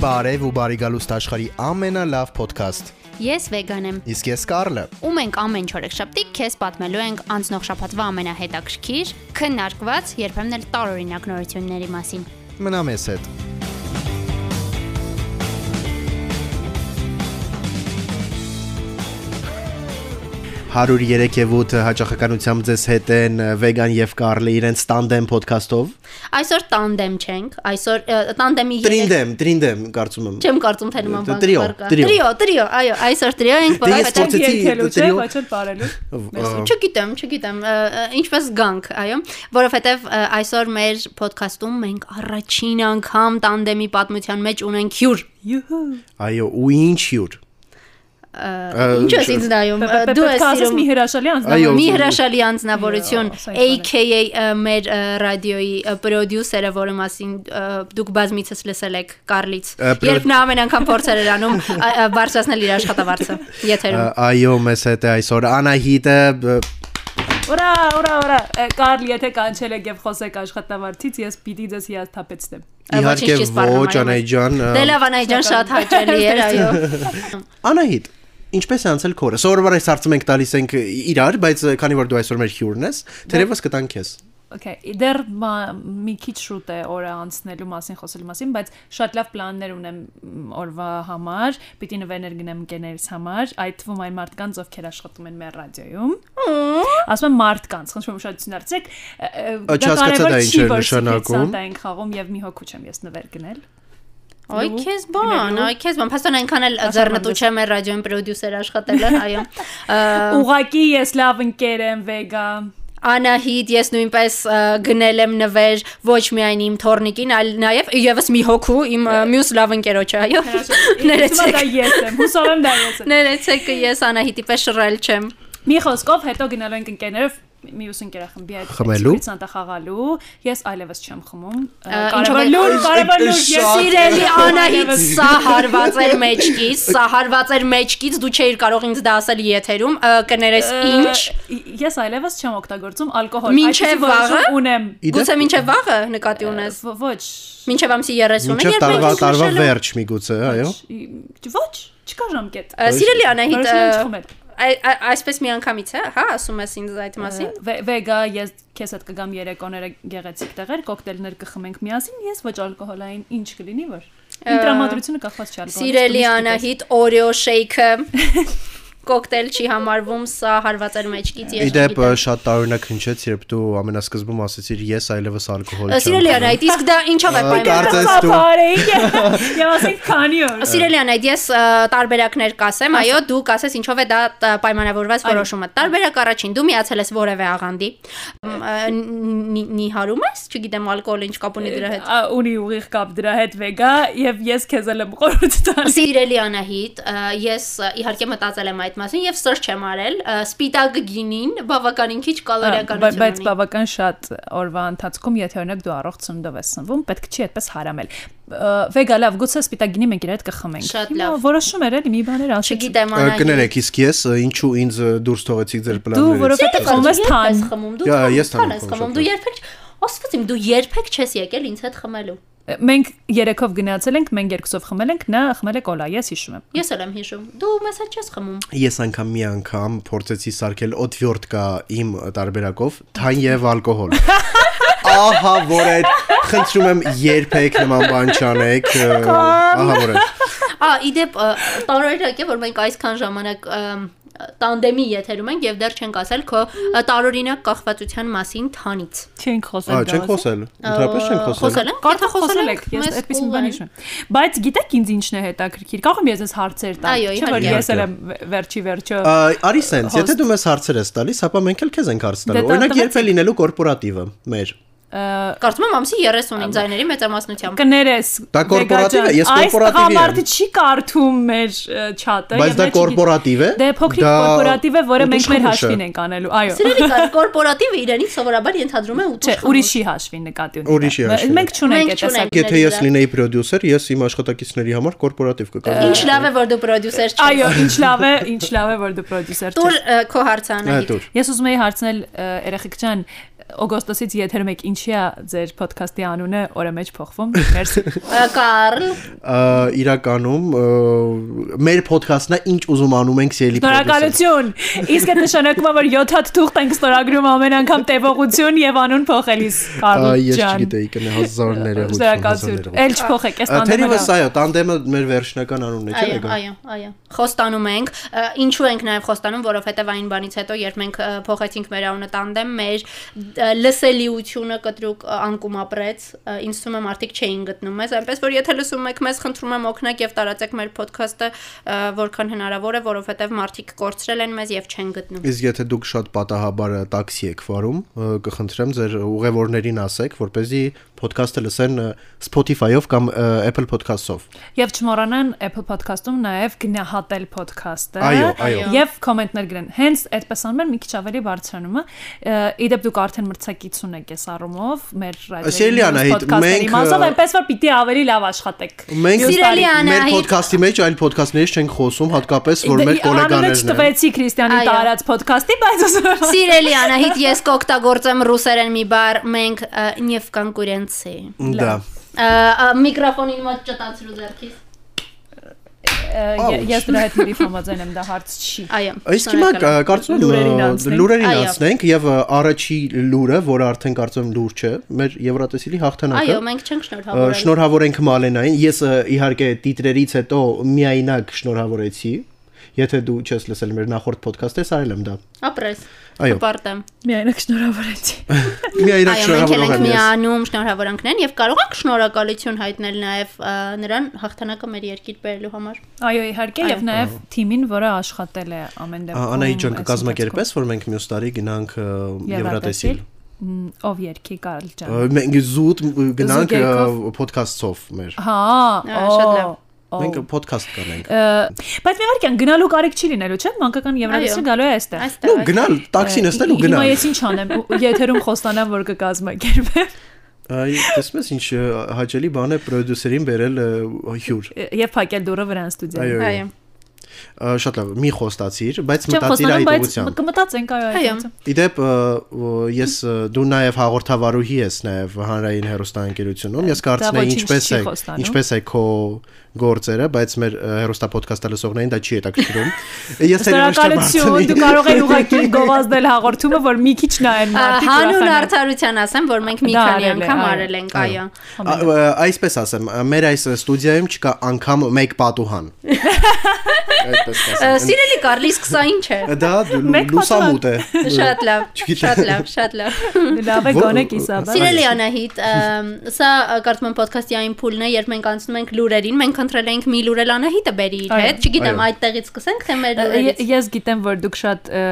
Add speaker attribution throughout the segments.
Speaker 1: Բարև ու բարի գալուստ աշխարի ամենալավ ոդքասթ։
Speaker 2: Ես վեգան եմ։
Speaker 1: Իսկ ես Կարլը։
Speaker 2: Ու մենք ամեն չորեքշաբթի քեզ պատմելու ենք անցնող շաբաթվա ամենահետաքրքիր, քննարկված, երբեմն էլ տարօրինակ նորությունների մասին։
Speaker 1: Մնա մեզ հետ։ Հարուր 3 եւ 8 հաճախականությամբ ձեզ հետ են Վեգան եւ Կարլը իրենց տանդեմ ոդքասթով։
Speaker 2: Այսօր տանդեմ չենք, այսօր ը, տանդեմի երեք-
Speaker 1: Տրինդեմ, տրինդեմ կարծում եմ։
Speaker 2: չեմ կարծում թե նման բան
Speaker 1: Տրիո,
Speaker 2: կբարգա։
Speaker 1: տրիո։
Speaker 2: Տրիո, տրիո, այո, այսօր տրիո ենք,
Speaker 1: Դե ես
Speaker 2: որովհետև
Speaker 1: փորձեցի
Speaker 3: Ենթելու չէ,
Speaker 1: տրիո-
Speaker 3: բայց էլ բարելու։
Speaker 1: Ա,
Speaker 2: Չգիտեմ, չգիտեմ, ը, ը, ինչպես գանք, այո, որովհետև ը, այսօր մեր ոդքասթում մենք առաջին անգամ տանդեմի պատմության մեջ ունենք հյուր։
Speaker 3: Յուհու։
Speaker 1: Այո, ու ինչ հյուր։ Ա,
Speaker 2: Ինչո՞ս
Speaker 1: չէ,
Speaker 2: ինձ նայում։ ը,
Speaker 3: Պետք
Speaker 2: Դու
Speaker 3: է
Speaker 2: ես
Speaker 3: ասես
Speaker 2: սիրում
Speaker 3: մի հրաշալի
Speaker 1: Այո,
Speaker 3: անձնավորություն։
Speaker 2: Մի հրաշալի անձնավորություն,
Speaker 3: Ա, սա ինչ բան է։
Speaker 2: AKA ը, մեր ը, ռադիոյի ը, պրոդյուսերը, որի մասին ը, դուք բազմիցս լսել եք Կարլից,
Speaker 1: Ա, պրո-
Speaker 2: երբ նա ամեն անգամ փորձեր էր անում ա, ա, բարձրացնել իր աշխատավարձը
Speaker 1: Ա,
Speaker 2: եթերում։
Speaker 1: Այո, մեզ հետ է այսօր Անահիտը։ բ-
Speaker 3: Ուրա, ուրա, ուրա։ Ը, Կարլ, եթե կանչել եք եւ խոսեք աշխատավարձից, ես պիտի ձեզ հիասթափեցնեմ։
Speaker 2: Ա, ոչինչ
Speaker 1: Իհարկե
Speaker 2: չի սպառնում,
Speaker 1: ոչ,
Speaker 2: այո,
Speaker 1: Անահիտ ջան։ ա,
Speaker 2: Դե լավ, Անայջան շատ հաճելի էր, այո։
Speaker 1: Անահիտ, ինչպես է անցել քորը։ Սովորաբար այս հարցը մենք տալիս ենք իրար, բայց քանի որ դու այսօր մեր հյուրն ես, թերևս կտանք ես։
Speaker 3: Okay, իդեր մի քիչ շուտ է օրը անցնելու մասին խոսելու մասին, բայց շատ լավ պլաններ ունեմ մ, օրվա համար։ Պիտի նվերներ գնեմ ընկերներիս համար, այդ թվում այն մարդկանց, ովքեր աշխատում են մեր ռադիոյում։ Ասում եմ մարդկանց, խնդրում եմ շատ ցնարցեք։
Speaker 1: Ա, չհասկացա դա ինչ է նշանակում։
Speaker 3: Դա ենք խաղում եւ մի հոգու չեմ ես նվեր գնել։
Speaker 2: Ոй քեզ բան, ոй քեզ բան, փաստորեն այնքան էլ ձեռնտու չէ մեր ռադիոյի պրոդյուսեր աշխատելը, այո։ Ա,
Speaker 3: Ուղակի ես լավ ընկեր եմ վեգա։
Speaker 2: Անահիտ, ես նույնպես ը, գնել եմ նվեր ոչ միայն իմ թորնիկին, այլ նաև եւս մի հոգու իմ ը, մյուս լավ ընկերոջը, այո։
Speaker 3: Հիմա
Speaker 2: Ներեցեք։
Speaker 3: դա ես եմ, հուսով եմ դա ես եմ։
Speaker 2: Ներեցեք, ես Անահիտի պես շռել չեմ։
Speaker 3: Մի խոսքով հետո գնալու ենք ընկերներով մյուս ընկերախմբի այդ
Speaker 1: Խմելու։
Speaker 3: սանտա խաղալու։ Ես այլևս չեմ խմում։ Ա,
Speaker 2: Ա, ինչով
Speaker 3: Կարևոր
Speaker 2: է-
Speaker 3: լուր, կարևոր լուր,
Speaker 1: Շատ-
Speaker 3: ես իրեն
Speaker 2: Սիրելի Անահիտ, սա հարված էր մեջքից, սա հարված էր մեջքից, դու չէիր կարող ինձ դա ասել եթերում, ը, կներես ինչ։
Speaker 3: Ես այլևս չեմ օգտագործում ալկոհոլ։
Speaker 2: Մինչև
Speaker 3: այդպիսի որոշում
Speaker 2: վաղը?
Speaker 3: ունեմ։
Speaker 1: Ի դեպ-
Speaker 2: Գուցե մինչև վաղը նկատի ունես։
Speaker 3: Վ- Ոչ։
Speaker 2: Մինչև ամսի 30-ը,
Speaker 1: Մինչև
Speaker 2: երբ մենք
Speaker 1: տարվա
Speaker 2: ենք
Speaker 1: տարվա
Speaker 2: նշելու-
Speaker 1: վերջ միգուցե, այո։
Speaker 3: ի- Ոչ, չկա ժամկետ։
Speaker 2: Ա, Սիրելի Անահիտ,
Speaker 3: Որոշում եմ
Speaker 2: ա,
Speaker 3: չխմել։
Speaker 2: այ- այ- այսպես մի անգամից է, հա, ասում ես ինձ այդ մասին։
Speaker 3: Վե- Վեգա, ես քեզ հետ կգամ երեկոները գեղեցիկ տեղեր, կոկտեյլներ կխմենք միասին, ես ոչ ալկոհոլային ինչ կլինի որ։ Ինտրամադրությունը կախված չի ալկոհոլից։
Speaker 2: Սիրելի
Speaker 3: դու միշտ գիտես։
Speaker 2: Անահիտ Oreo shake-ը կոկտեյլ չի համարվում, սա հարվածեր մեջքից ես
Speaker 1: Իդեպ
Speaker 2: չգիտեմ։
Speaker 1: շատ տարօրինակ հնչեց, երբ դու ամենասկզբում ասեցիր ես այլևս ալկոհոլ չեմ։
Speaker 2: Սիրելի Անահիտ, իսկ դա ինչով
Speaker 1: Ա,
Speaker 2: է պայմանավորված։
Speaker 1: կարծես դու-
Speaker 3: Սափարեի։ Եվ ասենք քանի օր։
Speaker 2: Սիրելի Անահիտ, ես ա, տարբերակներ կասեմ, այո, դու կասես ինչով է դա տ- պայմանավորված որոշումը։ Տարբերակ առաջին, դու միացել ես որևէ աղանդի։ մ, ա, նի- նի- Նիհարում ես, չգիտեմ ալկոհոլը ինչ կապ ունի դրա հետ։
Speaker 3: Ա, ունի ուղիղ կապ դրա հետ վեգա եւ ես քեզ էլ եմ խորհուրդ տալիս
Speaker 2: Սիրելի Անահիտ, ա, ես ա, իհարկե մտածել եմ այդ մասին եւ սրճ չեմ արել։ ա, Սպիտակ գինին բավականին քիչ
Speaker 3: Բա-
Speaker 2: կալորիականություն
Speaker 3: բայց
Speaker 2: ունի։
Speaker 3: բավական շատ օրվա ընթացքում եթե օրինակ դու առողջ ցնդով ես սնվում պետք չի այդպես հարամել Ա, վեգա լավ գուցե սպիտակինի մենք իրար հետ կխմենք
Speaker 2: Շատ
Speaker 3: Հիմա
Speaker 2: լավ։
Speaker 3: որոշում էր էլի մի բաներ ասեցի
Speaker 2: Չգիտեմ
Speaker 1: Ա,
Speaker 2: Անահիտ։
Speaker 1: Կներեք, իսկ ես ա, ինչու ինձ ա, դուրս թողեցիք ձեր
Speaker 3: դու
Speaker 1: պլաններից։
Speaker 3: որովհետեւ
Speaker 2: Երբ
Speaker 3: խմում ես
Speaker 2: երբ
Speaker 3: թան
Speaker 2: ես խմում, դու
Speaker 1: Յա,
Speaker 2: թան-
Speaker 1: ես թան
Speaker 2: թան
Speaker 1: եմ
Speaker 2: ես
Speaker 1: խմում
Speaker 2: խմում,
Speaker 1: շատ
Speaker 2: դու երբեք չ- ասված իմ դու երբեք չես եկել ինձ հետ խմելու։
Speaker 3: մենք երեքով գնացել ենք մենք երկուսով խմել ենք նա խմել է կոլա ես հիշում եմ
Speaker 2: Ես էլ եմ հիշում։ Դու մեզ հետ չես խմում։
Speaker 1: Ես անգամ մի անգամ փորձեցի սարքել օթվյորդկա իմ տարբերակով, թայն եւ ալկոհոլ։ Ահա որ այդ խնդրում եմ երբեք նման բան չանեք։ ա, Ահա որ այդ։
Speaker 2: Ա, իդեպ տարօրինակ է, որ մենք այսքան ժամանակ ըմ, տանդեմի եթերում ենք եւ դեռ չենք ասել քո ը, տարօրինակ կախվածության մասին թանից։
Speaker 3: չենք
Speaker 1: Ա,
Speaker 3: խոսել
Speaker 1: չենք խոսել։ Ընդհանրապես չենք խոսել։
Speaker 2: Խոսել ենք,
Speaker 3: Կարթա խոսել եք, ես
Speaker 2: մեզ
Speaker 3: այդպես մի
Speaker 2: կուղ
Speaker 3: բան
Speaker 2: են։
Speaker 3: հիշում եմ։ Բայց գիտեք ինձ ինչն է հետաքրքիր։ Կարող եմ ես ես հարցեր տալ,
Speaker 2: Այո,
Speaker 3: չէ՞ որ
Speaker 2: իհարկե։
Speaker 3: ես էլ եմ վերջի վերջը
Speaker 1: Ա, Արի sense, եթե դու մեզ հարցեր ես տալիս, ապա մենք էլ քեզ ենք հարց
Speaker 3: Դե
Speaker 1: տալու։ Օրինակ,
Speaker 3: դա
Speaker 1: երբ է
Speaker 3: տվեցի։
Speaker 1: լինելու կորպորատիվը մեր։
Speaker 2: Կարծում եմ ամսի 30-ին ձայների մեծամասնությամբ։
Speaker 3: կներես
Speaker 1: Դա կորպորատիվ է, ես կորպորատիվի եմ։
Speaker 3: Այս համարտը չի կարդում մեր ը, չաթը
Speaker 1: Բայց
Speaker 3: եւ
Speaker 1: դա
Speaker 3: նա չի գի-
Speaker 1: կորպորատիվ է։
Speaker 3: Դե փոքրիկ
Speaker 1: դա
Speaker 3: կորպորատիվ է, որը մենք մեր
Speaker 1: ուտուշ
Speaker 3: հաշվին
Speaker 1: խմուշ
Speaker 3: ենք անելու, այո։
Speaker 2: Սիրելի կար- կորպորատիվը իրենից սովորաբար ենթադրում է
Speaker 3: Չէ,
Speaker 2: 8
Speaker 3: ուրիշի հաշվին նկատի ունի։
Speaker 1: Ուրիշի
Speaker 3: դա։
Speaker 1: հաշվին։
Speaker 3: Մենք չունենք
Speaker 2: Մենք
Speaker 3: այդ
Speaker 2: չունենք։
Speaker 3: տեսակ։
Speaker 1: Եթե ես լինեի պրոդյուսեր, ես իմ աշխատակիցների համար կորպորատիվ կկազմեի։
Speaker 2: Ինչ լավ է, որ դու պրոդյուսեր չես։
Speaker 3: Այո, ինչ լավ է, ինչ լավ է, որ դու պրոդյուսեր ես։
Speaker 2: Տուր ը, քո հարցանը։
Speaker 1: Այդուր։
Speaker 3: Ես ուզում եի հարցնել ը, երեխեք ջան, ը, օգոստոսից եթեր մեկ ինչի է ձեր ոդքասթի անունը օրը մեջ փոխվում։ Մերսի։
Speaker 2: Կարլ,
Speaker 1: Ա, իրականում ը, մեր ոդքասթն է ինչ ուզում անում ենք սիրելի պրոդյուսեր։
Speaker 3: Շնորհակալություն։ Իսկ այդ նշանակում է, որ 7 հատ թուղթ ենք ստորագրում ամեն անգամ տևողություն եւ անուն փոխելիս,
Speaker 1: Ա,
Speaker 3: Կարլ
Speaker 1: Ես
Speaker 3: ջան։
Speaker 1: չգիտեի կնե հազարները հույս
Speaker 3: Շնորհակալություն։ Էլ չփոխեք, այս
Speaker 1: Թերևս
Speaker 3: տանդեմը։
Speaker 1: այո, տանդեմը մեր վերջնական անունն է, չէ՞
Speaker 2: այո,
Speaker 1: եկա։
Speaker 2: այո, այո։ Խոստանում ենք, ը, ինչու ենք նաև խոստանում, որովհետև այն բանից հետո, երբ մենք ը, փոխեցինք մեր անունը տանդեմ, մեր ը, լսելիությունը կտրուկ ը, անկում ապրեց, ը, ինձ թվում է մարդիկ չէին գտնում մեզ, այնպես որ եթե լսում եք մեզ, խնդրում եմ օգնեք եւ տարածեք մեր ոդքասթը, ը, որքան հնարավոր է, որովհետև մարդիկ կորցրել են մեզ եւ չեն գտնում։
Speaker 1: Իսկ եթե դուք շատ պատահաբար ա, տաքսի եք վարում, ա, կխնդրեմ ձեր ուղևորներին ասեք, որպեսզի ոդքասթը լսեն ա, Spotify-ով կամ ա, Apple Podcast-ով։
Speaker 3: Եվ չմոռանան Apple Podcast-ում նաև գնահատել podcast-ը։
Speaker 1: Այո, այո։
Speaker 3: Եվ կոմենտներ գրեն։ Հենց այդպես անում են մի քիչ ավելի բարձրանում է։ Ա, Իդեպ դուք արդեն մրցակիցուն եք այս առումով մեր ռադիոյի։
Speaker 1: Սիրելի Անահիտ, մենք,
Speaker 3: մասով
Speaker 1: ա,
Speaker 3: այնպես որ պիտի ավելի լավ աշխատեք։
Speaker 1: Մենք
Speaker 3: Մյուս տարի-
Speaker 2: Սիրելի
Speaker 1: մեր
Speaker 2: Անահիտ-
Speaker 1: ոդքասթի մեջ այլ ոդքասթներից չենք խոսում, հատկապես որ
Speaker 3: Դե,
Speaker 1: մեր
Speaker 3: անունը
Speaker 1: գոլեգաներն են։
Speaker 3: չտվեցի Քրիստիանի
Speaker 2: Այո։
Speaker 3: տարած podcast-ի, բայց ասում եմ։
Speaker 2: Սիրելի Անահիտ, ես կօգտագործեմ ռուսերեն մի բառ, մենք նև կոնկուրենցի։
Speaker 1: Դա։
Speaker 2: Միկրոֆոնին մոտ ճտացրու ձեռքիս։
Speaker 3: Ե- Ես դրա հետ մի համաձայն եմ, դա հարց չի։
Speaker 2: Այո։
Speaker 1: Իսկ հիմա կա- կարծում
Speaker 3: Լուրերին
Speaker 1: եմ ա,
Speaker 3: անցնենք։
Speaker 1: լուրերին
Speaker 2: Այո։
Speaker 1: անցնենք եւ ա, առաջի լուրը, որը արդեն կարծում եմ լուր չէ, մեր Եվրատեսիլի հաղթանակը։
Speaker 2: Այո, մենք չենք
Speaker 1: Ա,
Speaker 2: շնորհավորել։
Speaker 1: Շնորհավորենք Մալենային։ Ես ա, իհարկե տիտրերից հետո միայնակ շնորհավորեցի։ Եթե դու չես լսել մեր նախորդ ոդքասթը, ես արել եմ դա։
Speaker 2: Ապրես։
Speaker 1: Այո։
Speaker 2: Կպարտեմ։
Speaker 3: Միայն շնորհավորեցի։
Speaker 1: Միայնակ
Speaker 2: Այո, մենք էլ
Speaker 1: շնորհավորող
Speaker 2: ենք
Speaker 1: եմ ես։
Speaker 2: միանում շնորհավորանքներն եւ կարող ենք շնորհակալություն հայտնել նաեւ ա, նրան հաղթանակը մեր երկիր բերելու համար։
Speaker 3: Այո, իհարկե, եւ նաև թիմին, որը աշխատել է ամեն
Speaker 1: Ա,
Speaker 3: դեպքում։
Speaker 1: Անահիտ ջան,
Speaker 3: այս
Speaker 1: կկազմակերպես, որ մենք մյուս տարի գնանք ա, Եվրատեսիլ։
Speaker 3: Մ, Ով երկի Կարլ
Speaker 1: Ա,
Speaker 3: ջան։
Speaker 1: Մենք զուտ մ, գնանք ա,
Speaker 3: եկավ։
Speaker 1: ոդքասթով մեր։
Speaker 3: Հա,
Speaker 2: Ա,
Speaker 3: օ,
Speaker 2: շատ լավ։
Speaker 3: օ։
Speaker 1: Մենք ոդքասթ կանենք։
Speaker 3: Ա, Բայց մի վարքյան գնալու կարիք չի լինելու, չէ՞, մանկական եվրոպացի
Speaker 2: Այո։
Speaker 3: գալու է այստեղ։
Speaker 1: Ու
Speaker 2: Այստեղ։
Speaker 1: գնալ, տաքսին էստել ու
Speaker 3: Հիմա
Speaker 1: գնալ։
Speaker 3: ես ինչ անեմ, ու- եթերում խոստանամ, որ կկազմակերպեմ։
Speaker 1: Այ, տեսնես ինչ ա, հաճելի բան է պրոդյուսերին վերել ա, հյուր։
Speaker 3: Եվ փակել դուրը վրան ստուդիա։
Speaker 1: Այո։
Speaker 2: Այո։
Speaker 1: Ա, Շատ լավ, մի խոստացիր, բայց
Speaker 3: Չեմ
Speaker 1: մտածիր
Speaker 3: խոստանում,
Speaker 1: այդ
Speaker 3: բայց
Speaker 1: ուղությամբ։
Speaker 3: մ- կմտածենք, այո, այդ
Speaker 2: Այո։
Speaker 3: ուղղությամբ։
Speaker 1: Իդեպ ը, ո- ես ը, դու նաև հաղորդավարուհի ես նաև հանրային հերոստանգերությունում։ Ես կարծում եմ
Speaker 3: ոչինչ
Speaker 1: ինչպես
Speaker 3: չի
Speaker 1: է
Speaker 3: խոստանում։
Speaker 1: ինչպես է քո գործերը, բայց մեր ը, հերոստապոդքասթը լսողներին դա չի հետաքրքրում։ Ես
Speaker 3: Շնորհակալություն, դու կարող ես ուղղակի գովազդել հաղորդումը, որ մի քիչ նայեն
Speaker 2: Ա,
Speaker 3: մարդիկ։
Speaker 2: Հանուն
Speaker 3: ուրախանան։
Speaker 2: արդարության ասեմ, որ մենք մի
Speaker 3: Դա
Speaker 2: քանի
Speaker 3: արել է,
Speaker 2: անգամ
Speaker 3: այո,
Speaker 2: արել ենք,
Speaker 1: Ա-
Speaker 2: այո։
Speaker 1: ը, Այսպես ասեմ, ը, մեր այս ստուդիայում չկա անգամ մեկ պատուհան։ Այդպես
Speaker 2: Ա,
Speaker 1: ասեմ։
Speaker 2: Սիրելի Կարլի, սկսա ինչ է։
Speaker 1: Դա դու-
Speaker 3: Մեկ
Speaker 1: լուսամուտ է։
Speaker 2: Շատ լավ,
Speaker 1: Չգիտեմ։
Speaker 2: շատ լավ, շատ լավ։
Speaker 3: Լավ է
Speaker 1: Ո-
Speaker 3: գոնեք իսաբա։
Speaker 2: Սիրելի Անահիտ, ըմ, սա ը, կարծում եմ ոդքասթի այն փուլն է, երբ մենք անցնում ենք լուրերին, մենք ընտրել ենք մի լուրել Անահիտը բերի իր
Speaker 3: Այո,
Speaker 2: հետ, չգիտեմ
Speaker 1: այո։
Speaker 2: այդտեղից սկսենք թե մեր
Speaker 3: Ե-
Speaker 2: լուրերից։
Speaker 3: Ես գիտեմ, որ դուք շատ ը,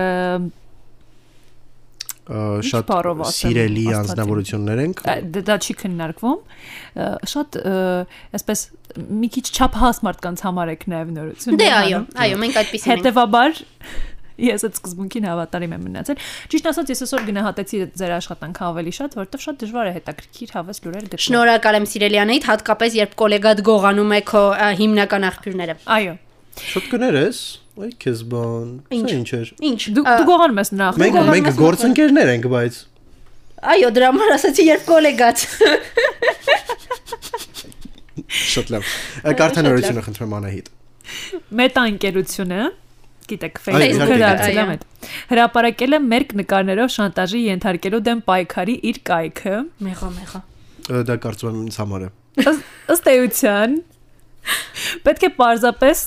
Speaker 1: Ա, Շատ
Speaker 3: բառով ասեմ,
Speaker 1: սիրելի
Speaker 3: աստվածին։
Speaker 1: անձնավորություններ ենք։
Speaker 3: ա, դա- դա չի քննարկվում, ը, շատ ը, այսպես մի քիչ չափահաս մարդկանց համար եք նաև նորություն։
Speaker 2: Դե
Speaker 3: անում։
Speaker 2: այո, այո, մենք այդպեսին ենք։
Speaker 3: Հետևաբար ես այդ սկզբունքին հավատարիմ եմ մնացել։ Ճիշտ ասած, ես այսօր գնահատեցի ձեր աշխատանքը ավելի շատ, որովհետև շատ դժվար է հետաքրքիր հավես լուրեր գտնել։
Speaker 2: Շնորհակալ եմ Սիրելի Անահիտ, հատկապես երբ կոլեգադ գողանում է քո ը, հիմնական աղբյուրները։
Speaker 3: Այո։
Speaker 1: Շատ կներես։ Այ քեզ բան։
Speaker 2: Ինչ։
Speaker 1: Սա ինչ էր։
Speaker 2: Ինչ։
Speaker 3: Դու
Speaker 2: ա,
Speaker 3: դու գողանում ես նախ։
Speaker 1: Մենք մենք գործընկերներ ենք, բայց
Speaker 2: Այո, դրա համար ասացի երբ կոլեգադ։
Speaker 1: Շատ լավ։ Ա, Կարթա նորությունը խնդրեմ Անահիտ։
Speaker 3: մետաընկերությունը գիտեք
Speaker 1: իհարկե,
Speaker 3: Facebook-ը
Speaker 1: գիտեմ։
Speaker 3: դարձել է
Speaker 2: Այո։
Speaker 3: մետ հրապարակել է մերկ նկարներով շանտաժի ենթարկելու դեմ պայքարի իր կայքը
Speaker 2: Մեղա, մեղա։
Speaker 1: Ա, Դա կարծում եմ ինձ համար է։
Speaker 3: Ըս- ըստ էության պետք է parzapes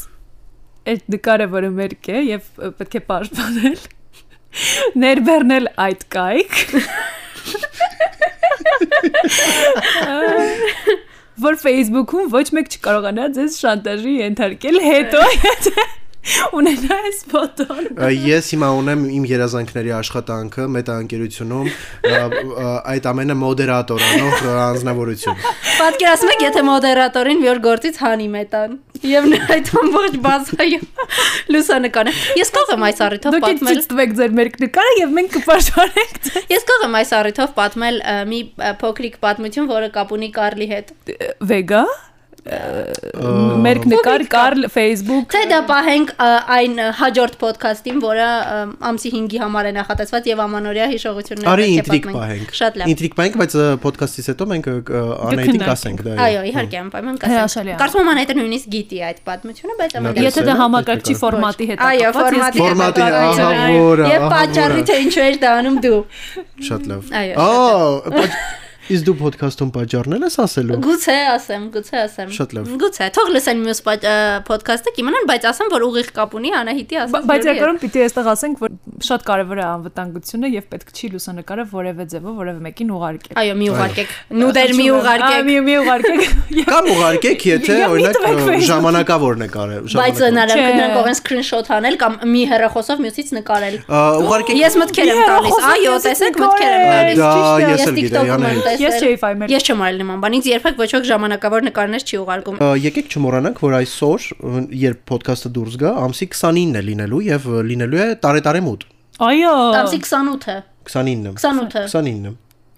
Speaker 3: այդ նկարը որը մերկ է եւ ը, պետք է պաշտպանել ներբեռնել այդ կայք որ Facebook-ում ոչ մեկ չկարողանա ձեզ շանտաժի ենթարկել հետո եթե ունենա այս ֆոտոն
Speaker 1: Ա, Ես հիմա ունեմ իմ երազանքների աշխատանքը մետաընկերությունում, ա, ա, այդ ամենը մոդերատոր անող անձնավորություն։
Speaker 2: Պատկերացնում եք, եթե մոդերատորին մի օր գործից հանի մետան եւ նա այդ ամբողջ բազայը լուսանկարը։ Ես կարող եմ այս առիթով
Speaker 3: դուք
Speaker 2: պատմել։
Speaker 3: ինձ ցույց տվեք ձեր մերկ նկարը եւ մենք կպաշտպանենք ձեզ
Speaker 2: Ես կարող եմ այս առիթով պատմել ը, մի ը, փոքրիկ պատմություն, որը կապ ունի Կարլի հետ։
Speaker 3: վեգա Մեր նկար կար Facebook
Speaker 2: Թե դա պահենք ա, այն ա, հաջորդ ոդքասթին, որը ա, ամսի 5-ի համար է նախատեսված եւ ամանորյա հիշողությունները
Speaker 1: Արի
Speaker 2: պետք է
Speaker 1: ինտրիգ
Speaker 2: պատմենք։
Speaker 1: պահենք։
Speaker 2: Շատ լավ։
Speaker 1: Ինտրիգ պահենք, բայց ը, podcast-ից հետո մենք ը, ը, անայտին կասենք դա։
Speaker 2: Այո, իհարկե, անպայման կասեմ։
Speaker 3: Կքննարկենք։ Հրաշալի է։
Speaker 2: Կարծում եմ անհետը նույնիսկ գիտի այդ պատմությունը, բայց ամեն
Speaker 3: Եթե
Speaker 1: Տեսել
Speaker 3: դա
Speaker 1: եք
Speaker 3: համակարգչի
Speaker 1: տեխնիկա։
Speaker 3: ֆորմատի հետ
Speaker 2: Այո, ֆորմատի հետ
Speaker 1: Ֆորմատի, ահա
Speaker 2: պատմություն, այո,
Speaker 1: որը, ահա
Speaker 2: Եվ պատճառը
Speaker 1: որը։
Speaker 2: թե ինչու էր դա անում դու։
Speaker 1: Շատ լավ։
Speaker 2: Այո,
Speaker 1: Ա, պաճ- Իսկ դու podcast-ում պատճառնել ես ասելու։
Speaker 2: Գուցե ասեմ, գուցե ասեմ։
Speaker 1: Շատ լավ։
Speaker 2: Գուցե, թող լսեն մյուս պատ- ա, ոդքասթը, կիմանան, բայց ասեմ, որ ուղիղ կապ ունի Անահիտի ասած։
Speaker 3: Բայց
Speaker 2: ձևի հետ։
Speaker 3: եկարում պիտի այստեղ ասենք, որ շատ կարևոր է անվտանգությունը եւ պետք չի լուսանկարը որևէ ձևով որևէ մեկին ուղարկել։
Speaker 2: Այո, մի ուղարկեք։ Նու դեր մի
Speaker 3: Ա,
Speaker 2: ուղարկեք։
Speaker 3: Մի մի ուղարկեք։ Եվ
Speaker 1: Կամ ուղարկեք, եթե
Speaker 3: Եվ մի
Speaker 1: օրինակ
Speaker 3: տվեք
Speaker 1: ը,
Speaker 3: Facebook-ից։
Speaker 1: ժամանակավոր նկարել։
Speaker 2: Բայց
Speaker 1: ժամանակավոր։
Speaker 2: նրանք
Speaker 3: Չէ։
Speaker 2: նրանք ողեն սկրինշոթ անել կամ մի հեռախոսով մյուսից նկարել։
Speaker 1: Ա, Ուղարկեք։
Speaker 2: Ես մտքեր եմ
Speaker 3: Մի
Speaker 2: տալիս։ Այո, տեսեք,
Speaker 3: հեռախոսով մյուսից
Speaker 1: Դա ես էլ գիտեի, Անահիտ։
Speaker 2: մտքեր եմ տալիս։ Ես TikTok-ում եմ տեսել։
Speaker 3: նկարել։ ճիշտ է, Ես չէի ֆայմել։
Speaker 2: Ես չեմ արել նման բան։ Ինձ երբեք ոչ ոք ժամանակավոր նկարներ չի ուղարկում։
Speaker 1: Ա, Եկեք չմոռանանք, որ այսօր, ը, երբ podcast-ը դուրս գա, ամսի 29-ն է լինելու եւ ը, լինելու է տարեթարե մոտ։
Speaker 3: Այո։
Speaker 2: Ամսի 28-ը,
Speaker 1: 29-ը։
Speaker 2: 28-ը։
Speaker 1: 29-ը։